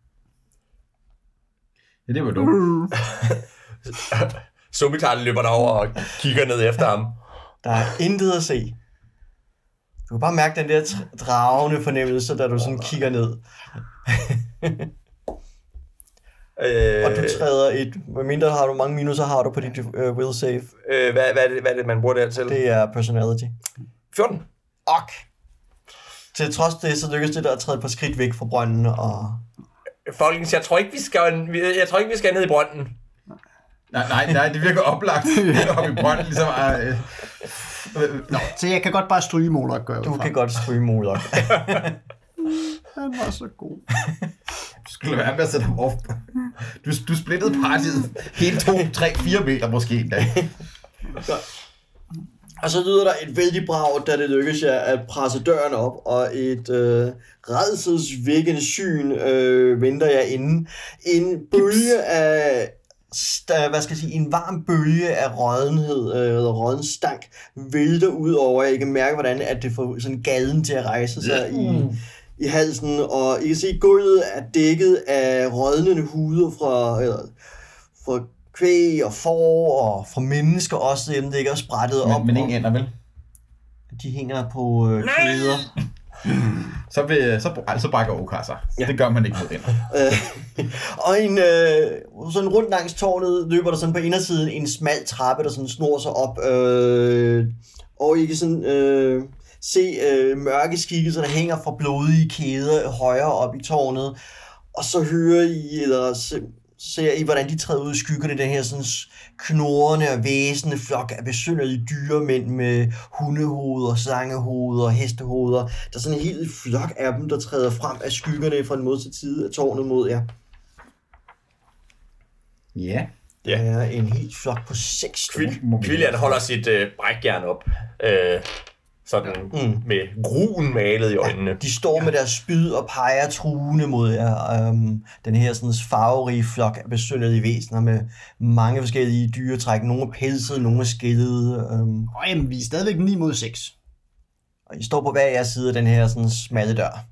S4: Ja, det var
S1: Uh.
S4: dumt.
S1: Zombieklarten løber derover og kigger ned efter ham.
S2: Der er intet at se. Du kan bare mærke den der tr- dragende fornemmelse, da du sådan kigger ned.
S1: Øh,
S2: Og du træder et, medmindre har du mange minuser, har du på dit uh, will save.
S1: øh, hvad, hvad, er det, hvad er det, man bruger der til?
S2: Det er personality.
S1: 14.
S2: Ok. Til trods det, så lykkes det der at træde et par skridt væk fra brønden, og
S1: Folkens, jeg tror ikke, vi skal, jeg tror ikke, vi skal ned i brønden.
S4: Nej, nej, nej, det virker oplagt. Op i brønden, ligesom... Øh, øh, Nå,
S5: Så jeg kan godt bare stryge Molok, gør jeg
S2: du
S5: ud fra.
S2: kan godt stryge Modok.
S5: Han var så god.
S4: du skulle lade være med at sætte ham off. Du, du splittede partiet helt to, tre, fire meter måske endda.
S2: Og så lyder der et vældig brag, da det lykkes jer at presse døren op, og et øh, redselsvækkende syn øh, venter jer inde. En bølge af, st- øh, hvad skal jeg sige, en varm bølge af rådenhed, øh, eller rådden stank, vælter ud over jer. I kan mærke, hvordan at det får sådan gaden til at rejse sig i, i halsen, og I kan se, at gulvet er dækket af rådnende huder fra, eller, fra kvæg og får og fra mennesker også, dem der ikke er sprættet op.
S4: Men, men
S2: og-
S4: ingen ender vel?
S2: de hænger på øh, kæder.
S4: Så, vil, så, altså, så bakker Okar sig. Ja. Det gør man ikke mod ender.
S2: Øh, og en, øh, sådan rundt langs tårnet løber der sådan på indersiden en smal trappe, der sådan snor sig op. Øh, og I kan sådan øh, se øh, mørke skikkelser, der hænger fra blodige kæder højere op i tårnet. Og så hører I, eller se, ser I, hvordan de træder ud i skyggerne, den her sådan knorrende og væsende flok af besynderlige dyremænd med hundehoveder, slangehoveder og hestehoveder. Der er sådan en hel flok af dem, der træder frem af skyggerne fra den modsatte side af tårnet mod jer.
S4: Ja.
S1: Ja.
S2: Der er en hel flok på seks stykker.
S4: Må vi-
S1: Kvillian holder sit øh, brækjern op. Øh, sådan mm. med gruen malet i øjnene.
S2: De står med deres spyd og peger truende mod jer. Øhm, den her sådan farverige flok af besynderlige væsener med mange forskellige dyretræk. Nogle er pelsede, nogle er skillede. Øhm,
S5: Nå, jamen, vi er stadigvæk 9 mod 6.
S2: og I står på hver jeres side af den her sådan smalle dør.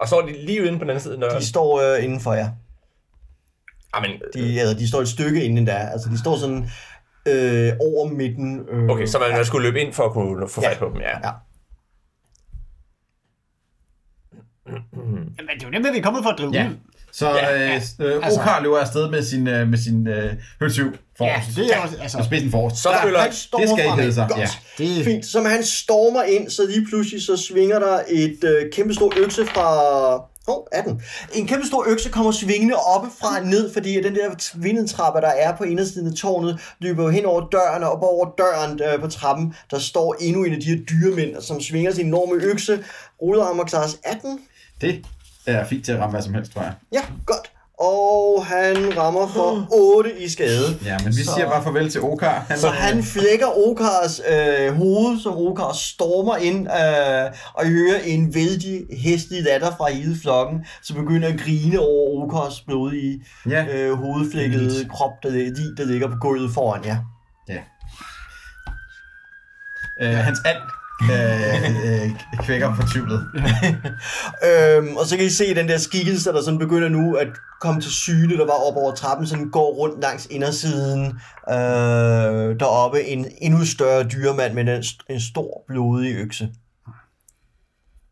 S1: Og så er de lige uden på den anden side Ah, af døren.
S2: De står øh, inden for jer.
S1: Jamen,
S4: Øh.
S2: De, altså, de står et stykke inden der. Altså, de står sådan øh, over midten. Øh,
S1: okay, så man ja. skulle løbe ind for at kunne få fat
S2: Ja.
S1: på dem, ja.
S2: Ja.
S5: Jamen, det er jo dem, vi er kommet for at drive
S4: Ja.
S5: ud.
S4: Så ja, ja. Øh,
S5: Altså-
S4: Okar løber afsted med sin, øh, med sin øh, hønsyv
S5: Ja,
S4: forrest.
S5: det er også, altså,
S4: Og spidsen forrest.
S1: Så føler
S2: han stormer
S4: det skal ikke
S2: fremad.
S4: hedde sig.
S2: Godt.
S4: Ja.
S5: det,
S2: Fint. Som han stormer ind, så lige pludselig så svinger der et øh, kæmpestor økse fra... Åh, oh, 18. En kæmpestor økse kommer svingende oppefra og ned, fordi den der vindetrappe, der er på indersiden af tårnet, løber jo hen over døren, og op over døren øh, på trappen, der står endnu en af de her dyremænd, som svinger sin enorme økse, ruller ham og klarer sig 18.
S4: Det er fint til at ramme hvad som helst, tror jeg.
S2: Ja, godt. Og han rammer for 8 i skade.
S4: Mm. Ja, men vi så... siger bare farvel til Okar. Han,
S2: Så han flækker Okars øh, hoved, så Okar stormer ind øh, og I hører en vældig hestlig datter fra hele flokken, som begynder at grine over Okars blodige
S4: Ja.
S2: øh, hovedflækkede krop, der, lig, der ligger på gulvet foran jer.
S4: Ja. Øh, hans and øh, øh, kvækker fortvivlet.
S2: Øhm, og så kan I se den der skikkelse, der sådan begynder nu at komme til syne, der var op over trappen, sådan går rundt langs indersiden. Øh, deroppe en endnu større dyremand med en, en stor blodig økse.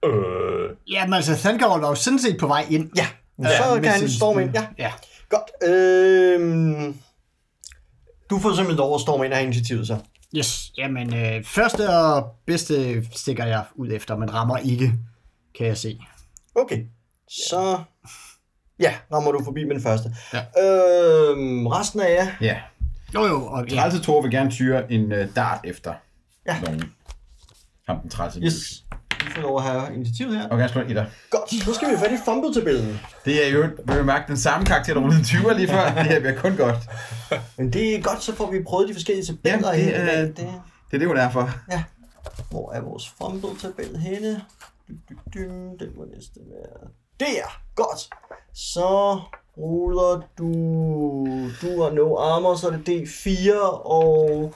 S1: Øh,
S5: jamen, altså, Thankar var jo sådan set på vej ind.
S2: Ja,
S5: Ja,
S2: så
S5: med
S2: kan han
S5: sin
S2: storme ind.
S5: spyd.
S2: Ja.
S5: Ja.
S2: Godt. Øhm, du får simpelthen lov at storme ind og have initiativet så.
S5: Yes, jamen, øh, første og bedste stikker jeg ud efter, men rammer ikke, kan jeg se.
S2: Okay. Så... Ja, rammer du forbi med den første.
S5: Ja.
S2: Øhm, resten af jer...
S4: Ja.
S5: Jo, jo, og ja.
S4: Trælse Thor vil gerne tyre en øh, dart efter
S2: Ja.
S4: nogen. Ham den trælse.
S2: Yes. Du får lov at have initiativet her.
S4: Og gerne slå en etter.
S2: Godt, nu skal vi have fat i fumble-tabellen.
S4: Det er jo, vil jeg mærke, den samme karakter, der rullede en 20'er lige før. Det her bliver kun godt.
S2: Men det er godt, så får vi prøvet de forskellige tabeller
S4: Ja, det
S2: her i dag.
S4: er-
S2: Det,
S4: Det er det, hun er for.
S2: hvor er vores fumble-tabel henne? Du, du, du, den må næsten være... Der! Godt! Så ruller du... Du har no armor, så er det D4, og...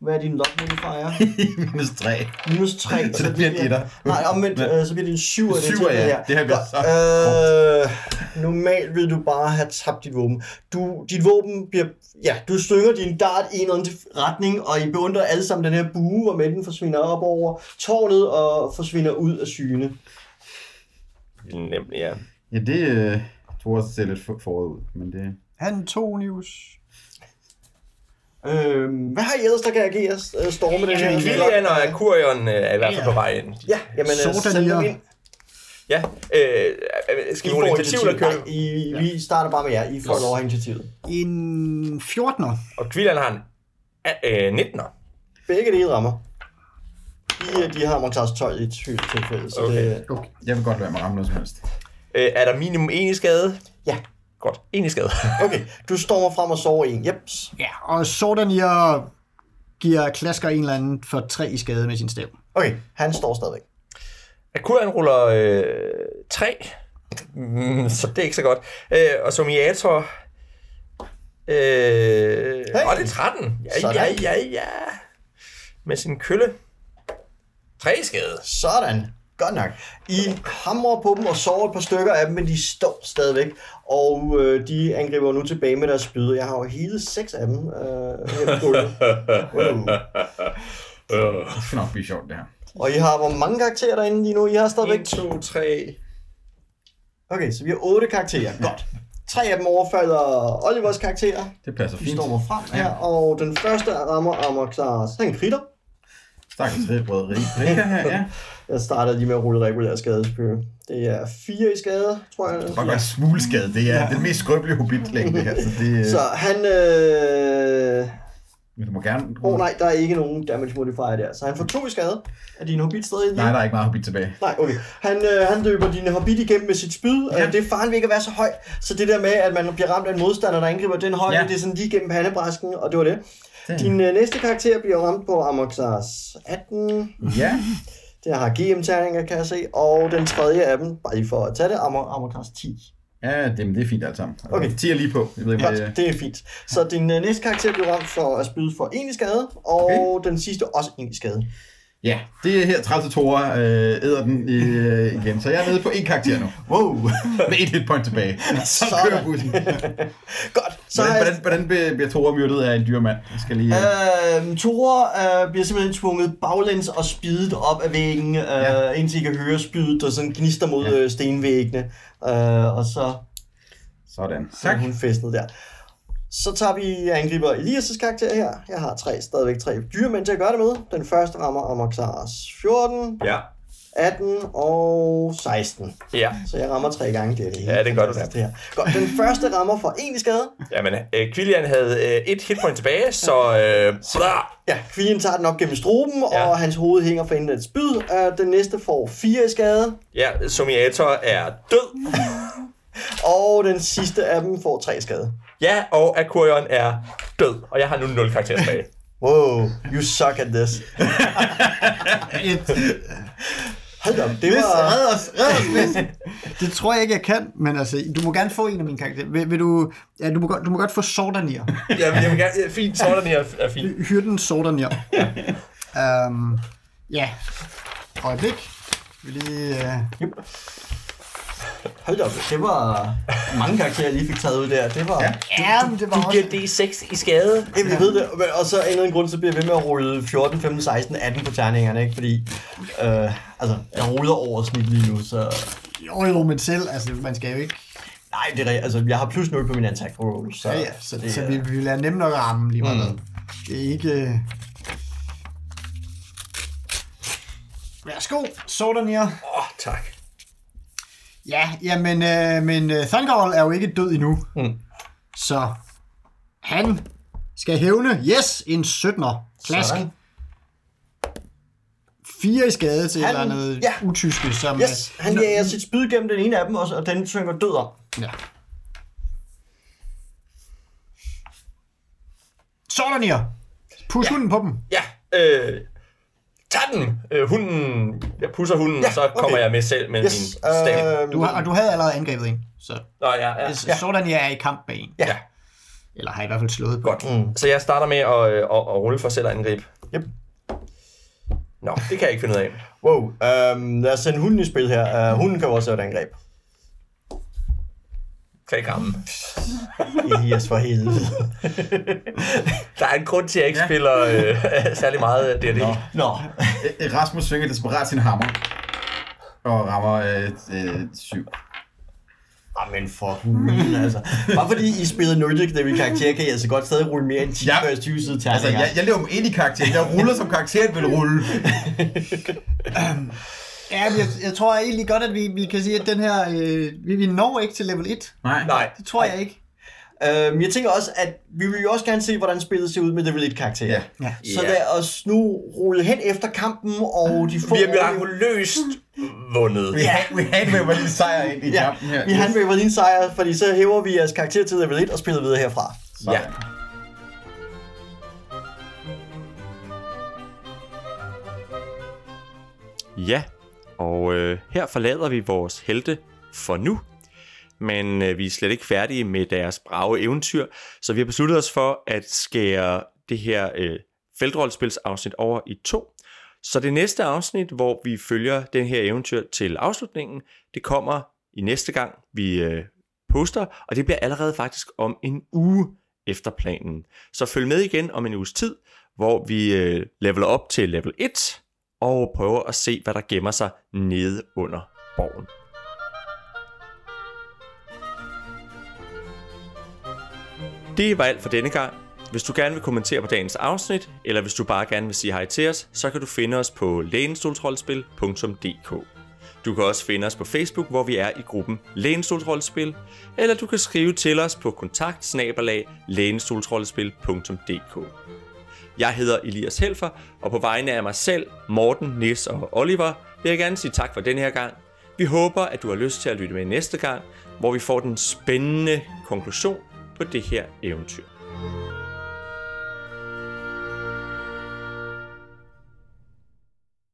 S2: Hvad er din lock modifier?
S4: Minus 3.
S2: Minus 3.
S4: Så det bliver en etter.
S2: Nej, omvendt, øh, så bliver det en 7. Det
S4: Syver, ja. Det her bliver så
S2: Øh, normalt vil du bare have tabt dit våben. Du, dit våben bliver... Ja, du stykker din dart i en eller anden retning, og I beundrer alle sammen den her bue, hvor den forsvinder op over tårnet og forsvinder ud af syne.
S1: Nemlig, ja.
S4: Ja, det øh, tror jeg også ser lidt for- forud ud, men det...
S5: Antonius.
S2: Øh, hvad har I ellers, der kan agere øh, storme den her?
S1: Kvillian og Akurion øh, er i hvert fald på vej ind.
S2: Ja, jamen, øh,
S5: Sådan
S2: send dem
S5: lige.
S2: ind.
S1: Ja, øh, øh, skal vi rulle initiativ eller køre?
S2: Nej, I, vi starter bare med jer. I får lov at have initiativet.
S5: En 14'er.
S1: Og Kvillian har en a- øh, 19'er.
S2: Begge dele rammer. De, de har Montage 12 i et sygt tilfælde, så okay.
S1: Okay.
S2: det...
S4: Jeg vil godt lade mig ramme noget som helst.
S1: Øh, er der minimum en i skade?
S2: Ja,
S1: Godt, en i skade.
S2: okay. Du stormer frem og sover en. Jeps.
S5: Ja, og Sordanier giver klasker en eller anden for tre i skade med sin stav.
S2: Okay, han står stadigvæk.
S1: Akurion ruller øh, 3, mm, så det er ikke så godt. Øh, og som i Ator... Øh, hey. Og det er 13. Ja,
S2: Sådan.
S1: ja, ja, ja. Med sin kølle. 3 i skade.
S2: Sådan. Godt nok. I hamrer på dem og sover et par stykker af dem, men de står stadigvæk. Og øh, de angriber nu tilbage med deres spyd. Jeg har jo hele seks af dem. Øh, her på gulvet. wow.
S4: Det skal nok blive sjovt, det her.
S2: Og I har hvor mange karakterer derinde lige nu? I har stadigvæk
S1: 1, 2, 3,
S2: Okay, så vi har otte karakterer. Godt. Tre af dem overfalder Olivers karakterer.
S4: Det passer
S2: De
S4: fint.
S2: stormer frem her, og den første rammer Armor Class. Han kritter.
S4: Stakkels ribbrøderi. Det her, her, ja.
S2: Jeg starter lige med at rulle regulær skade, selvfølgelig. Det er fire i skade, tror jeg.
S4: Fuck, jeg er smulskade. Det er den mest skrøbelige hobbitlæg, det her. Så det... øh,
S2: Så han... Øh...
S4: Men du må gerne...
S2: Åh oh, nej, der er ikke nogen damage modifier der. Så han får to i skade. Er din hobbit stadig lige?
S4: Nej, der er ikke meget hobbit tilbage.
S2: Nej, okay. Han, øh, han løber din hobbit igennem med sit spyd. Ja.
S4: Ja.
S2: Øh, det er faren ved ikke at være så høj. Så det der med, at man bliver ramt af en modstander, der angriber den højde, ja.
S4: Ja.
S2: det er sådan lige gennem pandebræsken, og det var det.
S4: Det-
S2: Din øh, næste karakter bliver ramt på Amoxars 18.
S4: Ja.
S2: Det har GM-terninger, kan jeg se. Og den tredje af dem, bare lige for at tage det, Amor- Amoxars 10.
S4: Ja, det, men det er fint alt sammen.
S2: Okay.
S4: 10 er lige på. Jeg ved ikke,
S2: Godt,
S4: hvad øh, det er.
S2: det er fint. Så din øh, næste karakter bliver ramt for at spyde for en i skade, og den sidste også en i skade.
S4: Ja, det er her 30 Tora øh, æder den øh, igen. Så jeg er nede på én karakter nu. Wow! Med et hit point tilbage. Så
S2: Sådan.
S4: kører bussen.
S2: Godt, så
S4: Hvordan,
S2: har jeg-
S4: hvordan, hvordan bliver- bliver Tora myrdet af en dyrmand? Jeg skal lige... Øh,
S2: Øh, Tore øh, bliver simpelthen tvunget baglæns og spiddet op af væggen, øh, ja.
S4: Ja.
S2: indtil I kan høre spydet, der sådan gnister mod ja.
S4: Ja.
S2: øh, stenvæggene. Øh, og så
S4: sådan.
S2: er
S4: Tak.
S2: hun festet der. Så tager vi angriber Elias' karakter her. Jeg har tre, stadigvæk tre dyremænd til at gøre det med. Den første rammer Amoxaras 14,
S1: Ja.
S2: 18 og 16.
S1: Ja,
S2: Så jeg rammer tre gange det. er helt
S1: Ja, det er godt, du
S2: fantastisk, det her. Godt, den første rammer for en i skade.
S1: jamen, øh, Kvillian havde øh, et hitpoint tilbage, så... Øh, bla,
S2: Ja, kvinden tager den op gennem struben, ja.
S1: Ja.
S2: og hans hoved hænger for enden af et spyd. Øh, den næste får 4 i skade,
S1: ja, Somiator er død.
S2: og den sidste af dem får 3 i skade.
S1: Ja, og Akurion er død, og jeg har nu 0 karakterer tilbage.
S2: Wow, you suck at this. Hold da op, det var...
S4: Red os, red os, Lis.
S5: Det tror jeg ikke, jeg kan, men altså, du må gerne få en af mine karakterer. Vil, vil du, ja, du, må godt, du må godt få Sordanier.
S1: Jamen, jeg vil gerne, ja, fint, sådan her er fint.
S5: Hyrden Sordanier. Ja. Um, ja. Øjeblik. Vi lige... Uh...
S2: Hold da op, det var mange karakterer, jeg lige fik taget ud der. Det var... Ja.
S5: Ja, men det var også...
S1: D6 i skade.
S2: Jamen, jeg ved det, men- og så af en eller anden grund, så bliver jeg ved med at rulle 14, 15, 16, 18 på terningerne, ikke? Fordi, øh, altså, jeg ruller over snit lige nu, så...
S5: Jo, jo, men selv, altså, man skal jo ikke...
S2: Nej, det er rigtigt. Altså, jeg har plus 0 på min attack roll, så...
S5: Ja, ja, så, det, så
S2: er-
S5: vi, vi vil nemt nok ramme lige meget. Mm. Det er ikke... øh. Værsgo, Sordanier.
S1: Åh, oh, tak.
S5: Ja, jamen, øh, men øh, Thangol er jo ikke død endnu. Mm. Så han skal hævne, yes, en 17'er. Klask.
S2: Sådan.
S5: Fire i skade til
S2: Han-
S5: han, eller andet
S2: ja.
S5: ja. utyske, som...
S2: Yes, han jager sit spyd gennem den ene af dem, og så- og den synger død om.
S5: øh, Ja. Sådan her. Pus ja. hunden på dem.
S1: Ja, øh,
S8: tag den! Øh, hunden, jeg pusser hunden, ja, og så kommer
S2: okay.
S8: jeg med selv med yes. min stab.
S2: øhm,
S8: Øh,
S3: Du har, og du havde allerede angrebet en, så
S8: Nå, ja, ja,
S3: ja.
S8: ja.
S3: sådan jeg er i kamp med en.
S8: Ja.
S3: Eller har i hvert fald slået på.
S8: Godt. Mm. Så jeg starter med at, øh, at, at rulle for selv at angribe.
S2: Yep.
S8: Nå, det kan jeg ikke finde ud af.
S2: Wow, øhm, lad os sende hunden i spil her. Uh, hunden kan jo også lave et angreb.
S8: Klik rammen.
S2: Elias for helvede.
S8: Der er en grund til, at jeg ikke ja. spiller øh, særlig meget D&D.
S2: Nå,
S4: Øh, Rasmus svinger desperat sin hammer. Og rammer øh, øh, syv.
S2: men for hulen altså. Bare fordi I spillede Nordic Devil karakter, kan I altså godt stadig rulle mere end 10
S4: Ja.
S2: ja. 20 side terninger.
S4: Altså, jeg, jeg lever mig ind i karakteren. Jeg ruller, som karakteren vil rulle.
S3: Ja, men jeg, jeg tror egentlig godt, at vi, vi kan sige, at den her, øh, vi, vi når ikke til level 1.
S4: Nej.
S8: Nej,
S3: Det tror jeg ikke.
S2: Øhm, jeg tænker også, at vi vil jo også gerne se, hvordan spillet ser ud med Devil 1-karakterer.
S4: Ja.
S3: Ja.
S2: Så lad os nu rulle hen efter kampen, og de få...
S8: vi er mirakuløst vundet.
S4: Vi, ja. vi handvæver lige sejr ind i
S2: Ja,
S4: kampen her.
S2: vi handvæver din sejr, fordi så hæver vi jeres karakter til level 1 og spiller videre herfra.
S8: Ja.
S1: Ja, og øh, her forlader vi vores helte for nu. Men øh, vi er slet ikke færdige med deres brave eventyr, så vi har besluttet os for at skære det her øh, feltrollespilsafsnit over i to. Så det næste afsnit, hvor vi følger den her eventyr til afslutningen, det kommer i næste gang, vi øh, poster, og det bliver allerede faktisk om en uge efter planen. Så følg med igen om en uges tid, hvor vi øh, leveler op til level 1 og prøver at se, hvad der gemmer sig nede under borgen. Det var alt for denne gang. Hvis du gerne vil kommentere på dagens afsnit, eller hvis du bare gerne vil sige hej til os, så kan du finde os på lænestoltrollespil.dk. Du kan også finde os på Facebook, hvor vi er i gruppen Lænestoltrollespil, eller du kan skrive til os på kontakt jeg hedder Elias Helfer, og på vegne af mig selv, Morten, Nis og Oliver, vil jeg gerne sige tak for den her gang. Vi håber, at du har lyst til at lytte med næste gang, hvor vi får den spændende konklusion på det her eventyr.